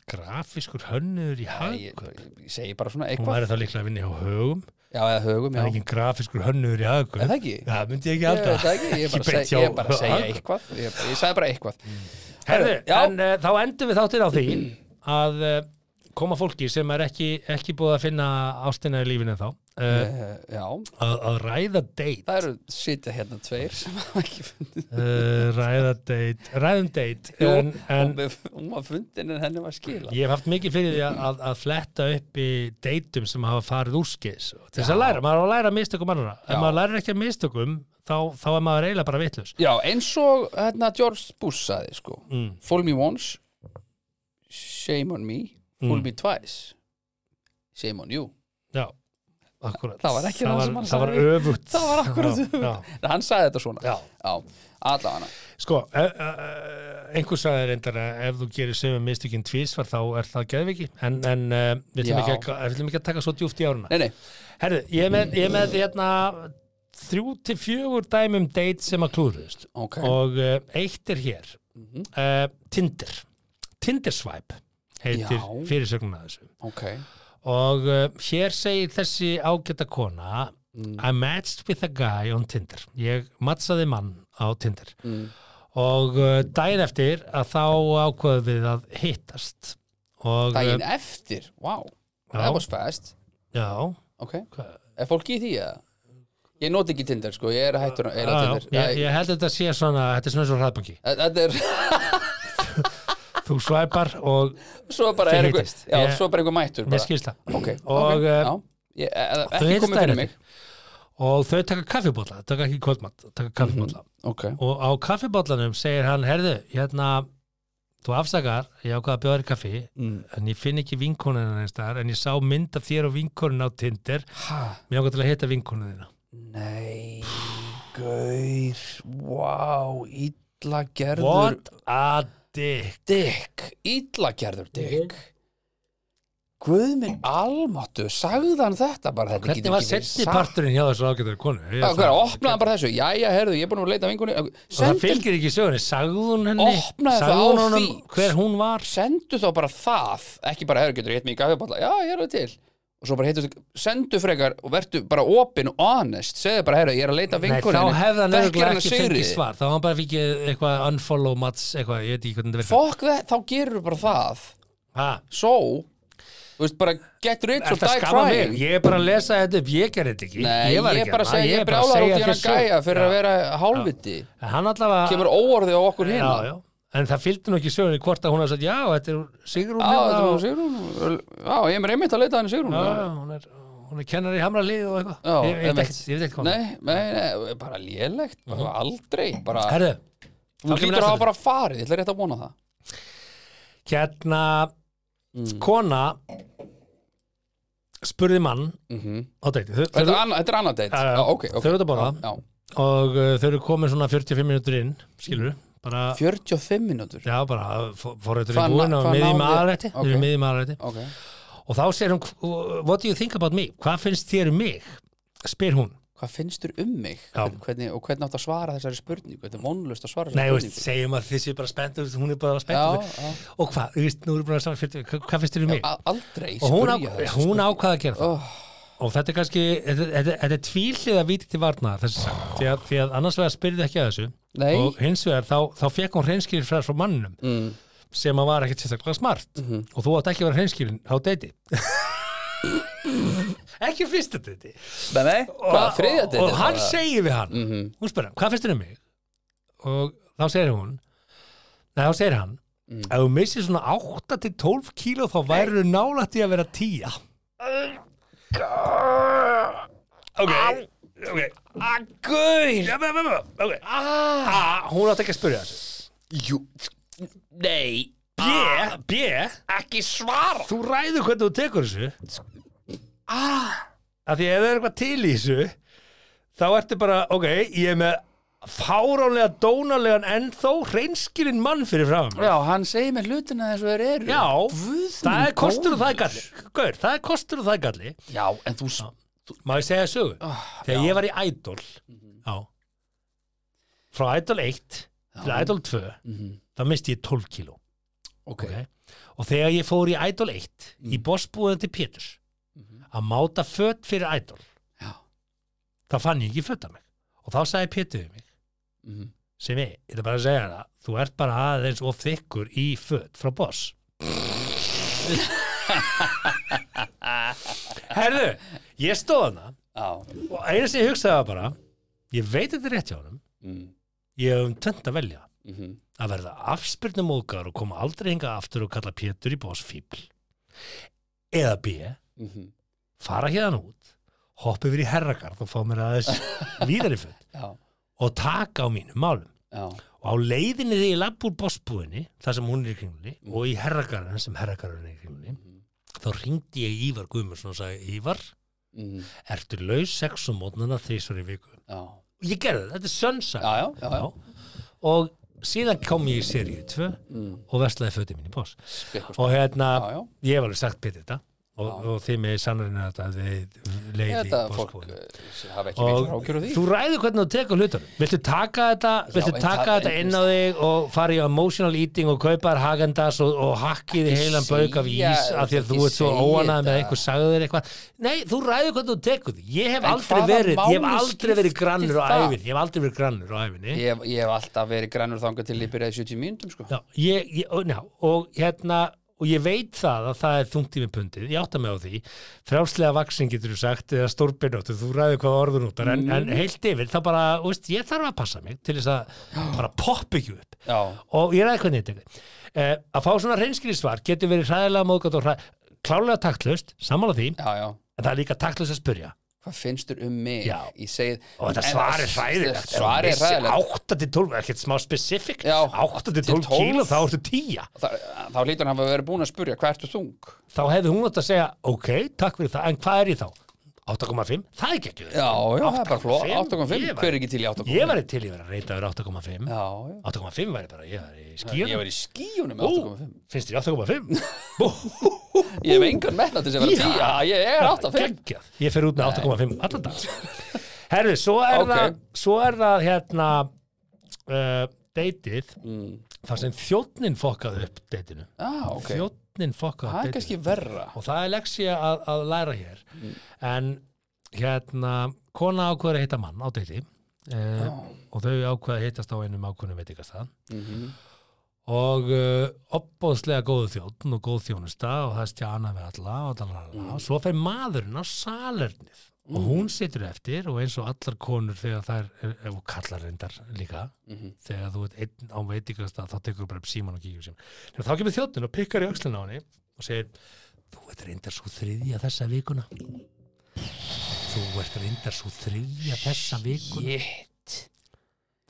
grafiskur hönnur í Nei, ég, hagkaup ég segi bara svona hún eitthvað væri þá líklega að vinna hjá högum Já, eða högum, það já er engin grafiskur hönnur í hagkaup Er það ekki? það myndi ég ekki Ég veit alltaf það ekki, ég er bara, Ekki seg, beint hjá- Mm. ég er bara að segja Hagkaup. eitthvað Ég, bara- ég sagði bara eitthvað Herðu, já. en uh, þá endum við þáttir á því að uh, koma fólki sem er ekki, ekki búið að finna ástina í lífinu þá uh, uh, Já, að, að ræða date það eru sitja hérna tveir sem hafa ekki fundið uh, ræða date ræðum date Jú, en, en hún, hún var fundin en henni var skila ég hef haft mikið fyrir því að, að, að fletta upp í dateum sem hafa farið úrskis til þess að Já. læra, maður á að læra af mistökum annara Já. ef maður lærir ekki að mistökum þá, þá er maður eiginlega bara vitlaus Já, eins og hérna George Bush saði sko mm. Fool me once Shame on me Fool Mm. me twice Shame on you já, akkurat Það var ekki það sem hann það var sagði. öfugt Það var akkúrat öfugt. já, En Hann saði þetta svona já, já. Já, allavega Sko, e- e- e- einhver sagði reyndar að ef þú gerir sömu mistökinn tvísvar þá er það geðviki en, en uh, við ætlum Já. ekki, að- við ætlum ekki að taka svo djúft í áruna Nei, nei, Herðu, ég er með, ég er með hérna, þrjú til fjögur dæmum date sem að klúruðust ok og uh, eitt er hér Mhm. uh, Tinder Tinder swipe heitir Já. fyrirsögnuna þessu ok og uh, hér segir þessi ágæta kona Mm. I matched with a guy on Tinder ég mattsaði mann á Tinder Mm. og uh, daginn eftir að þá ákvaðum við að hittast og eh, Daginn eftir, wow Já. That was fast, já, ok hva- Er fólk í því eða? Ég noti ekki Tinder sko, ég er hættur að eila já, Tinder já, ég, ég held að þetta sé svona þetta er svona svo hraðbanki Æ, Þetta er, þú svæpar og svo bara Þeir er einhver hittist. Já, Ég- svo bara einhver mættur mér bara skilst það Ok, Og, ok, eh, já Ég- eh, þau Ekki heitast komið fyrir daginn mig og þau taka kaffibólla, taka ekki kvöldmatt Mhm. taka kaffibólla Ok, og á kaffibóllanum segir hann, herðu, hérna þú afsakar, ég ákvað að bjóða þér kaffi en ég finn ekki vinkonuna neins þar en ég sá mynd af þér og vinkonuna á Tinder ha, mér ákvað til að hitta vinkonuna þína nei Gaur, wow Ítla gerður What a dick Dick, ítla gerður Dick Guð minn almáttu, sagði hann þetta bara þetta Hvernig getur var ekki verið setni satt. parturinn hjá þessu ágætari konu? Ég Já, ætla- hvað, opnaði hann bara þessu, jæja, herðu, ég er búin að leita vingunni Og það Sendu, fylgir ekki sögunni, sagði hún henni Opnaði sagði það hún á honum því. hver hún var sendu þá bara það ekki bara, herðu, getur ég hitt mig í gafjaballa já, ég er það til og svo bara heitur, sendu frekar og verðu bara opin og honest segðu bara, herðu, ég er að leita Nei, vingunni þá hefði hann örugglega ekki fengið svar þá hann bara fengið eitthvað unfollow mats eitthvað, ég veit ekki hvernig þetta fokk það, þá gerur bara það verður svo, þú veist, bara get rich og Þetta die skama mig, trying ég er bara að lesa þetta upp, ég gerði þetta ekki Nei, ég, var er ekki bara að þarna, segja, ég er er bara að brjálar út í segja hennar þér gæja fyrir sögu. að vera hálviti En Hann allavega kemur óorðið á okkur já, hérna já. En það fylgdi nú ekki sögunni hvort að hún hafði sagt Já, þetta er Sigrún Já, hérna þetta var og- Sigrún Já, ég er mér einmitt að leita hann í Sigrún Já, já, hún er, hún er kennar í hamra lið og eitthvað Já, Ég ég veit einmitt. ekkert, ég veit ekkert hvað hún er. Nei, nei, nei, bara lélegt bara aldrei, bara Herðu, þú þá kemur lítur að næsta hafa bara farið, ég ætla rétt að vona það hérna Mm. Kona spurði mann á deiti Þetta Þau- Mhm. þau eru- er annað- þetta er annað deitt Já, já. ok, ok Þau eru út að borða. Já, já. og uh, þau eru komin svona 45 minútur inn skilur, Mm. bara 45 mínútur Já, bara fórhættur í Hvað ná- búin og hvað miðjum náði- aðrætti Ok. okay. miðjum aðrætti Ok, og þá segir hún, what do you think about me? Hvað finnst þér um mig? spyr hún. hvað finnst þér um mig? Já. Hvernig, og hvernig áttu að svara þessari spurningu? Þetta er vonlust að svara Nei, þú þessari veist, segjum að þið séu bara spennt og hún er bara Já, spennt já, og hvað, þú veist, nú erum við búin að saman fyrir hvað, hvað finnst þér um mig? A- aldrei og hún, á, spyrja þessu hún spurningu. ákvaða að gera það Oh. og þetta er kannski, þetta, þetta, þetta er tvílið að víti til varna þessi sagt, því að, því að annars vegar spyrði ekki að þessu Nei. og hins vegar þá, þá fekk hún hreinskýrin frá, frá mannum mm. sem að var ekkit sérstaklega smart og þú átt ekki að vera hreinskýrin á deiti ekki fyrsta deiti Nei, nei, hvað, þriðja Mhm. og, deitt? og hann segir við hann hún spyrir hann, hvað finnst þér um mig og þá segir hún nei, þá segir hann Mhm. ef þú missir svona 8-12 kíló þá væru nálætt í að vera 10 ok ok Ah, Gauð! Ja, ja, ja, ja, ok. Ah. A, hún átt ekki að spyrja þessu Jú, nei, B, B, ekki svara þú ræður hvernig þú tekur þessu af því ef það er eitthvað til í þessu þá ertu bara, ok, ég er með fáránlega, dónalegan ennþá reynskilinn mann fyrir fram Já, hann segir mér hlutina eins og þeir eru Já, Guð það minn er kostur og það er góður. galli Gaur, það er kostur og það er galli Já, en þú, s- Má ég segja sögu? Þegar ég var í Idol Mhm. Já Frá Idol 1 til Idol 2 Mhm. þá misti ég 12 kíló ok, Mm. Og þegar ég fór í Idol 1 í bossbúðan til Péturs að máta fött fyrir Idol Mhm. Já. þá fann ég ekki fötta mig og þá sagði Pétur við mig Mhm. sem ég, ég er bara að segja það þú ert bara aðeins of þykkur í fött frá boss Herðu, ég stóð hana já og eina sem ég hugsaði var bara ég veit þetta er rétt hjá honum mm. ég hef um tönd að velja Mhm. að verða afspyrnum og koma aldrei hinga aftur og kalla Pétur í boss fíbl eða B Mhm. fara hérna út hoppa yfir í herragarð og fá mér aðeins víðari föt Já, og taka á mínum málum já, og á leiðinni þegar ég lapp úr bossbúðinni þar sem hún er í kringlunni og í herragarðin sem herragarðin er í kringlunni þá ringdi ég í Ívar Guðmundsson og sagði Ívar, mm. ertu laus sex og mótnana þrísvar í viku já og ég gerði það, þetta er Já, sönnsag já, já, já. og síðan kom ég í seríu 2 og veslaði fötið mín í boss Spekkur, og hérna, Mm. já, já ég hef alveg sagt Pétur þetta og, og þið með sannurinn þetta þið leiði Þetta fólk eh, hafa ekki veitur og ákjör á því þú ræður hvernig þú tekur hlutunum viltu taka þetta, viltu en taka það- þetta inn á þig og fara í emotional eating og kaupa þér hagendas og, og hakkið Ekki heilan bauk af segja- ís af því að ekki þú ert svo segja óanað með þetta. að einhver sagði þér eitthvað nei, þú ræður hvernig þú tekur því ég hef En aldrei hvaða verið, ég hef máli aldrei verið skiptir grannur á það? æfinni ég hef aldrei verið grannur á æfinni Ég, ég hef alltaf verið grannur þangað til ég byrjaði 70 mínútum sko. Já, ég, ég, og- já, og hérna og ég veit það að það er þungt í með pundið ég átta mig á því, frjálslega vaksin getur þú sagt, eða stórbyrnóttu, þú ræður hvað orðun út, en, Mm. en heilt yfir þá bara, þú veist, ég þarf að passa mig til þess að bara poppa ekki upp Já, og ég ræði hvernig þetta er. eh, að fá svona reynskilissvar getur verið hræðilega móðgætt og hræð, klálega taktlust, sammála því já, já en það er líka taktlust að spurja Hvað finnst þér um mig? Já. Ég segi og þetta En svar er það- hræðilegt sko. Svar er hræðilegt 8-12, ekkert smá specific Já. 8-12 Til 12. kíl og þá ertu 10 Þá- Þá lítur hann að vera búin að spurja hvað ertu þung? þá hefði hún átt að segja ok, takk fyrir það, en hvað er ég þá? 8,5? Það er ekki ekki Já, já, það er bara fló 8.5, Ég var- hver er ekki til í 8.5? Ég væri til í að vera reytaður Já, 8,5 já 8,5 væri bara, ég væri í Ég skíunum var í skíunum með 8.5 Ú, Finnst þér 8,5? Ég hef engan metna til þess að vera 10 Já, ég er 8.5 Geggjað, ég fer út með 8,5 allan dag Herðu, svo er Ok. það svo er það hérna uh, deitið þar sem þjóttnin fokkaði upp deitinu Já, Mm. ok þjóttnin Það fokkaði upp er deitinu kannski verra og það er leksja að, að læra hér en hérna kona ákveður að hitta mann á deiti uh, og þau ákveða að hittast á einum ákveðnum veitingastað og uh, opbóðslega góðu þjóttn og góð þjónusta og það stjana við alla og dalalala og svo fer maðurinn á salernið og hún situr eftir og eins og allar konur þegar þær, er- og kallar reyndar líka þegar þú ert einn á veitingastað þá tekur þú bara upp síman og kíkjum síman Þegar þá kemur þjóttinn og pikkar í öxlina á henni og segir Þú ert reyndar svo þriðja þessa vikuna Þú ert reyndar svo þriðja þessa vikuna Shit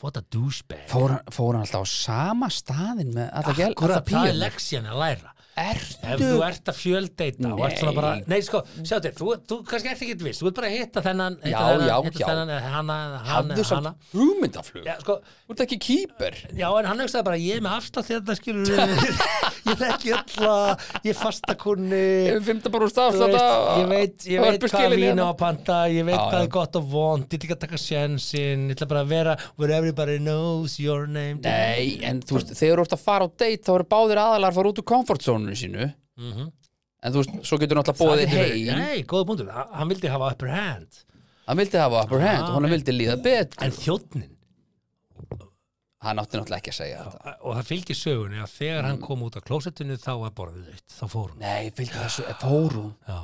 What a douchebag Fór, hann- fór hann alltaf á sama staðin með alla gæl, alla Akkurat, það er píjarnar leksjan að læra Ef Ertu þú ert að fjöldeita og ert svona Nei. bara, nei sko, sjá þér, þú, þú kannski ert ekki viss, þú ert bara að hitta þennan, hitta Já, þennan, já, hitta já. þennan, eða hana, eða hann, Hafðu eða hana. samt hugmyndaflug Já, sko, Þú ert ekki kýper já, en hann hugsaði bara, ég er með afslátt þetta skilur, ég þekki alla, ég er fastakunni, Ef við fimmta bara úr Þú stafs veist, ég veit, ég veit hvað vín á að panta ég veit hérna. Já, hvað já. er gott og vond ég ætla ekki að taka sjensin, ég ætla bara að vera where everybody knows your name Nei, en þú veist, þegar þú ert að fara á date þá eru báðir aðalar að fara út úr komfortzónunni sínu En þú veist, svo getur náttúrulega bóðið Mhm. Það getur verið- heim Nei, góða búndur, hann vildi hafa upper hand Hann vildi hafa upper hand Ah, og hann vildi líða betur en þjóttnin, Hann átti náttúrulega ekki að segja þetta og það fylgir sögunni að þegar hann Mm. kom út af klósettinu þá var borðið þitt, þá fór hann Nei, fylgdi þessu, eh, fór hún Já.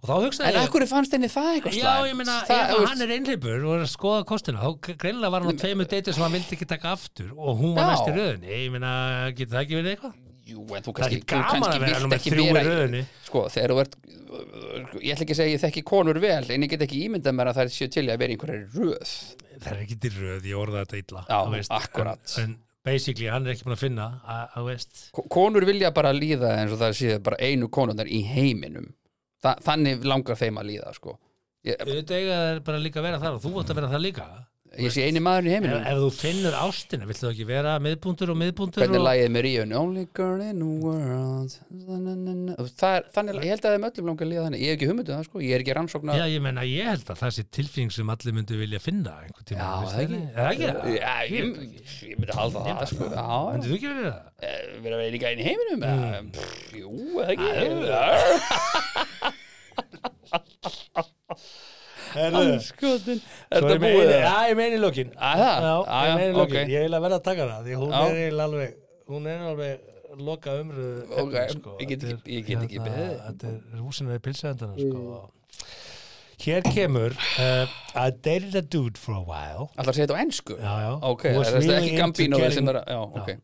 og þá hugsaði En akkur fannst henni það eitthvað Já, slæmt? ég meina, Það- ef þú veist- hann er einhleipur og er að skoða kostina, þá greinlega var hann á tveimur deytir sem hann vildi ekki taka aftur og hún var Já. næst í röðinni, ég meina, getur það ekki verið eitthvað? Jú, en þú Það er kannski, ekki þú gaman kannski að vera vilt númer ekki þrjú í vera röðinni. Sko, þegar þú ert Ég ætla ekki að segja ég þekki konur vel En ég get ekki ímyndað mér að það séu til í að vera einhverjar röð það er ekki til röð, ég orða þetta illa Já, þú veist, akkúrat. en, en basically, hann er ekki búin að finna að, að veist, Ko- Konur vilja bara líða eins og það séu bara einu konundar í heiminum Þa, Þannig langar þeim að líða, sko Ég, auðvitað eiga það bara líka að vera þar og þú átt að vera það líka ég sé eini maðurinn í ef, heiminum ef þú finnur ástina, vill þú ekki vera miðbúndur og miðbúndur Hvernig er og, lagið með Ríun? Only girl in the world Na-na-na-na. Það er, Þannig, ég held að þeim öllum langar að líða þannig Ég hef ekki humundið það, sko, ég er ekki rannsóknar Já, ég menna, ég held að það sé tilfinning sem allir myndu vilja finna einhvern tíma Já, það ekki. það ekki það? Já, ég, ég myndi halda það, sko Já, já. Myndu þú ekki verið það? Eh, vera að vera líka einn í heiminum mm. pff, jú, eða ekki Herðu, skotin svo þetta ég búið meini, það? já, ég meini lókin Æ, það? Já, Á, já, Ah, ég meini lókin, ok. ég vil að verða að taka það því hún Já. er eiginlega alveg, hún er alveg loka sko. umröðu Ok, ég get ekki- ég get ekki beðið. hérna, Mm. Þetta er húsinu við pilsaðendana sko Hér kemur uh, I dated a dude for a while Ætlar að segja þetta á ennsku? Já, já. Ok, Who was það er really ekki into Gambino getting- sem er að, já, ok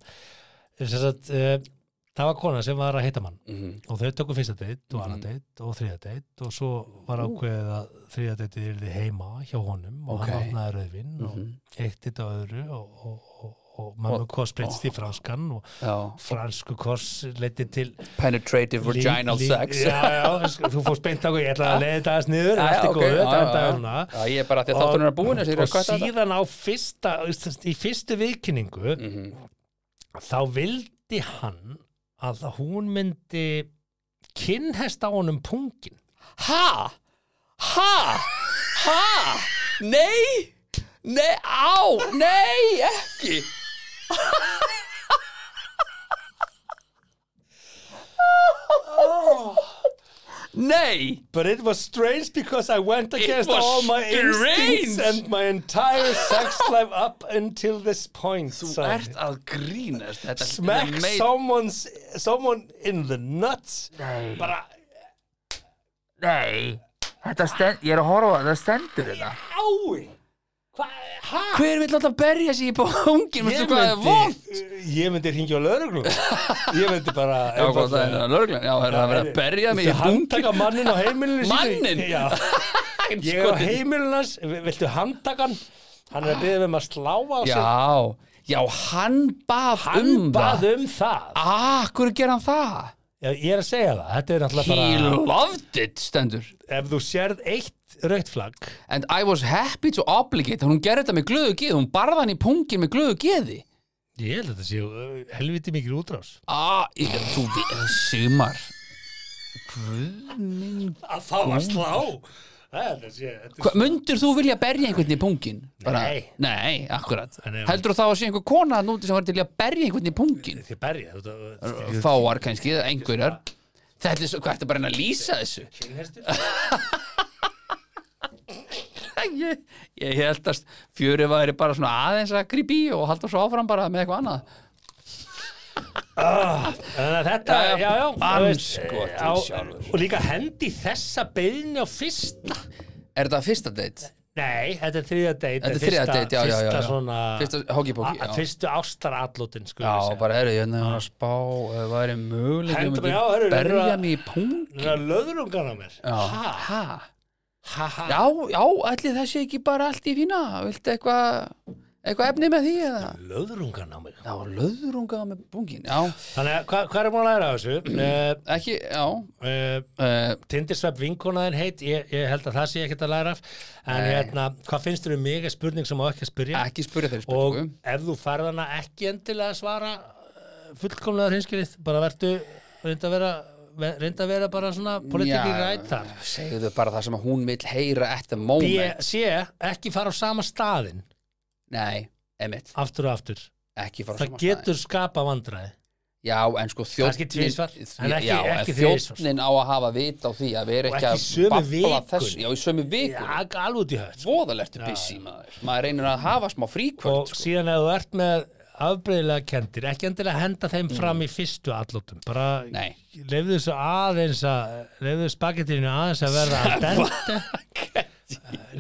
Þess að uh, það var kona sem var að hitta Mm. mann Mhm, og þau tökum fyrsta deitt og annað deitt og þriða deitt og svo var ákveðið að þriða deittið yrði heima hjá honum og Ok. hann Mhm. opnaði rauðvinn og eitt þetta öðru og, og, og, og mamma kors breytist í franskan og Já, fransku kors leiti til penetrative vaginal Lí- lí- sex já, já, sk- þú fórst beint á hvað ég ætla að leiða þetta aðeins niður, Já, já, allt er ok, góð já, þetta já, endaði já. hún Já, ég er bara því að þáttunum er búin, þessi er að og kvæta þetta. síðan á fyrsta í fyrstu viðkynningu Mhm. Mm. þá vildi hann að hún myndi kynhest á honum pungin Ha? Ha? Ha? Nei? Nei, á, nei, ekki Nei But it was strange because I went against was all my instincts strange. and my entire sex life up until this point. Þú sagði ert að grínast Þetta smack someone's, someone in the nuts Nei. bara Nei Þetta stend, ég er að horfa, það stendur þetta ái hvað, hæ? Hver vill alltaf berja sig í bóngin, veistu Ég hvað er vond? myndi, ég myndi hringja á lauruglum ég myndi bara Já, hvað það er það, lögreglan, já, það er að vera að berja mig í bóngin handtaka mannin á heimilinu sínu? Manninn? Já, ég er á heimilinu hans viltu handtaka hann hann er að byrja um að slá á sig Já, já, hann bað hann um bað það um það Akkur ger hann það? Já, ég er að segja það, þetta er náttúrulega He bara loved it, stendur ef þú sérð eitt raukt flagg And I was happy to obligate Hún gerði þetta með glöðu geði, hún barði hann í pungin með glöðu geði ég held að þetta sé uh, helviti mikil útrás Ah, ég- þú, vi- Sigmar að þá að slá þetta sé þetta Hva, Mundur þú vilja berja einhvern í pungin? Nei. Nei, akkurat En ef- Heldur þú þá að sé einhver kona að núti sem var til að berja einhvern í pungin? er því berja þetta Fáar kannski, eða einhverjar Þetta er svo, hvað ertu bara að reyna að lýsa þessu? ég, ég held að fjöri væri bara svona aðeins að grípi í og halda svo áfram bara með eitthvað annað Þannig að þetta, Já, já, já, já, þú veist, eh, andskotinn á- sjálfur. Og líka hendi þessa beiðni á fyrsta Er þetta fyrsta date? Nei, þetta er þriðja deit Þetta er þriðja date, já, já, já, Fyrsta já. svona Fyrsta hókipóki, a- já. Fyrstu ástaratlótin, sko Já, bara herri, ég er að spá uh, væri mögulega Hendur myndi bara, já, heyrðu, berja heyrðu, mig í pung Núna löðrungan á mér Já, Ha, ha. ha, ha já, já ætli það sé ekki bara allt í fína Viltu eitthvað eitthvað efni með því eða? Löðrungan á mig Já, löðrunga með pungin Já, Þannig að, hvað hva er búin að læra af þessu? uh, ekki, já uh, uh, Tindirsvepp vinkonaðin heit ég, ég held að það sé ekkert að læra af En hérna, hvað finnst þér um mig er spurning sem á ekki að spyrja Ekki spurja þeirri og spurningu ef þú færð hana ekki endilega að svara eh, fullkomlega hreinskilið bara verðu reynda að vera ve- reynda að vera bara svona politikið Já, rætt þar Segðu bara það sem að hún vill heyra at the Bé, moment sé, ekki fara á sama staðin Nei, emitt, aftur og aftur, ekki fara á það sama stað. getur skapa vandræði Já, en sko Kannski þjóttnin tvisvar, en ekki- Já, ekki en þrisvar. þjóttnin á að hafa vit á því að vera ekki Og ekki að sömu babla vikunni. þessu Já, í sömu Já, vikur alveg út í höll Voðalegt er busy maður Maður reynir að hafa smá og fríkvöld sko. síðan ef þú ert með afbreyðilega kendir, ekki endilega henda þeim fram í fyrstu allotum, bara Nei. lefðu þessu aðeins að lefðu spagettinu aðeins að verða al dente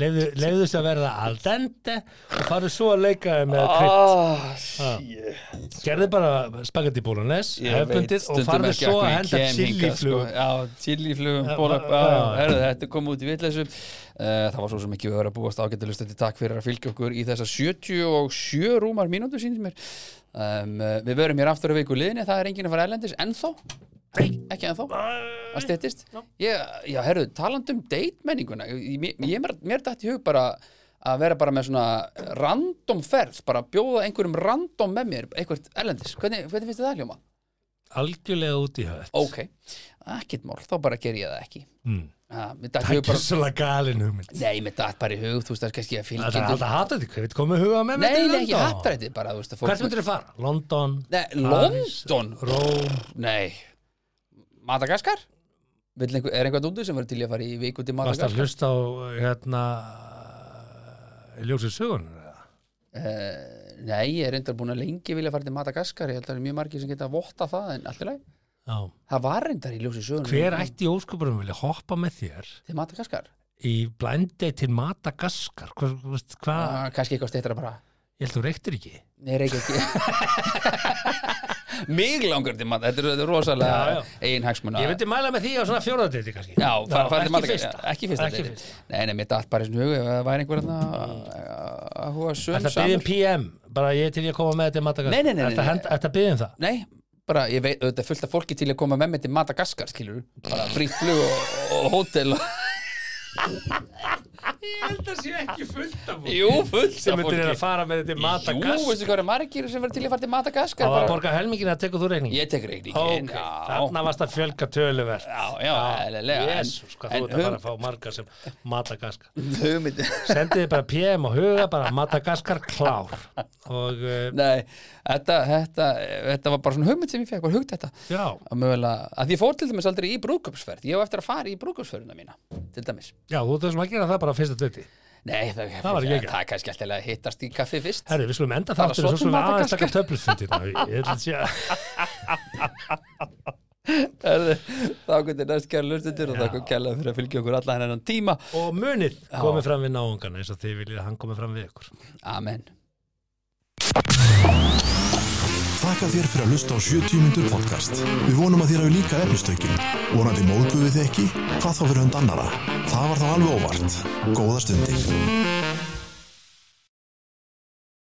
lefðu, lefðu þessu að verða al dente og farðu svo að leika þeim með krydd, Ah. Ah, shit. gerðu bara spagetti bólunes, Ég veit hefbundið og stundum farðu ekki svo af að hverju ég henda kem hingað, chiliflug sko. Já, chiliflugum, Já, bóla já, já. Herðu, þetta kom út í vitleysu uh, Það var svo sem ekki við verið að búast ágættilustandi Takk fyrir að fylgja okkur í þessa 77 rúmar mínútu sínir mér um, uh, Við verum hér aftur að viku liðinni Það er enginn að fara erlendis, ennþá Nei, ekki ennþá að stettist ég, já, herru, talandum deitmenninguna ég, ég, mér, mér dætti í hug bara að vera bara með svona random ferð, bara bjóða einhverjum random með mér, einhvert erlendis hvernig, hvernig finnst þér það hljóma? algjörlega út í höll Ok, ekkert mál, þá bara ger ég það ekki mm. Ha, mér datt í það hug er bara, gjössalega galin hugmynd nei, mér dætt bara í hug þú veist, það er kannski að það er fylgjum alltaf hatrætti, hvað veit komið huga með nei, nei, ekki hattrætti bara, þú veist að hvert fólk myndir þið fara? London, Nei, París, London? Róm nei, Madagaskar? Vill Einhver, er einhvern úti sem verður til í að fara í viku til Varst að Madagaskar? hlusta á hérna ljósið sögunar eða? Uh, nei, ég er reyndar búin að lengi vilja fara til Madagaskar, ég held að það er mjög margir sem geta að votta það, en allt í lagi Já. það var reyndar í ljósi sögunum Hver ætti í óskupurum vilja hoppa með þér til Madagaskar? í blændi til Madagaskar? Hvað, þú veist, hvað, Ah, kannski eitthvað steytara bara ég held þú reyktir ekki? Nei, reykja ekki Mig langar til Madagaskar, þetta er, þetta er Já, rosalega já. eigin hagsmuna Ég myndi mæla með því á svona fjóraðdeiti kannski. Já, fara, fara til ekki Madagaskar, fyrsta. Já, eh, ekki fyrsta Ekki deiti. fyrsta. Nei, nei, mér datt bara í svona hugu ef það væri einhver þarna að- að- að hóa sögum Þetta byggjum PM, um bara ég er til ég að koma með þetta til Madagaskar. Nei, nei, nei, nei, nei. Þetta byggjum um það. Nei, bara ég veit, auðvitað er fullt af fólki til að koma með mig til Madagaskar, skilur bara frítt flug og, og hótel og... Ég held að sé ekki fullt af fólki Jú, fullt sem af myndir að fólki fara með þetta í Jú, Madagaskar veistu hvað eru margir sem verður til að fara til Madagaskar Það var að bara- borga helmingin að tekur þú reikning Ég tek reikningin Ok, já. þarna varst að fjölga töluvert Já, já, eðlilega, en- Jésús, hvað en þú ert að fara hum- að fá marga sem Madagaskar hugmynd Sendiði bara PM og huga bara Madagaskar klár og uh, Nei, þetta, þetta, þetta var bara svona hugmynd sem ég fekk, bara hugt þetta já, að mögulega, að því ég fór til dæmis aldrei í brúðkaupsferð ég á eftir að fara í brúðkaupsferðina mína til dæmis já, þú ert þessum að gera það bara á fyrsta döti Nei, það, Það var ekki ekki. það er kannski alltaf að hittast í kaffi fyrst Herri, við skulum enda Bara þáttir svo og svo skulum til við aðeins taka Madagaskar. töflufundina Ég held að sé að Herðu, Þá getur næst kæra lustendur og þakku kæla fyrir að fylgja okkur allan hennan tíma Og munið komið fram við náungan eins og þið viljið að hann komið fram við ykkur Amen Þakka þér fyrir að hlusta á 70 mínútur podcast. Við vonum að þér hafi líka efnistökin. Vonandi móðguðu þið ekki? Hvað þá fyrir hund annara? Það var þá alveg óvart. Góða stundir.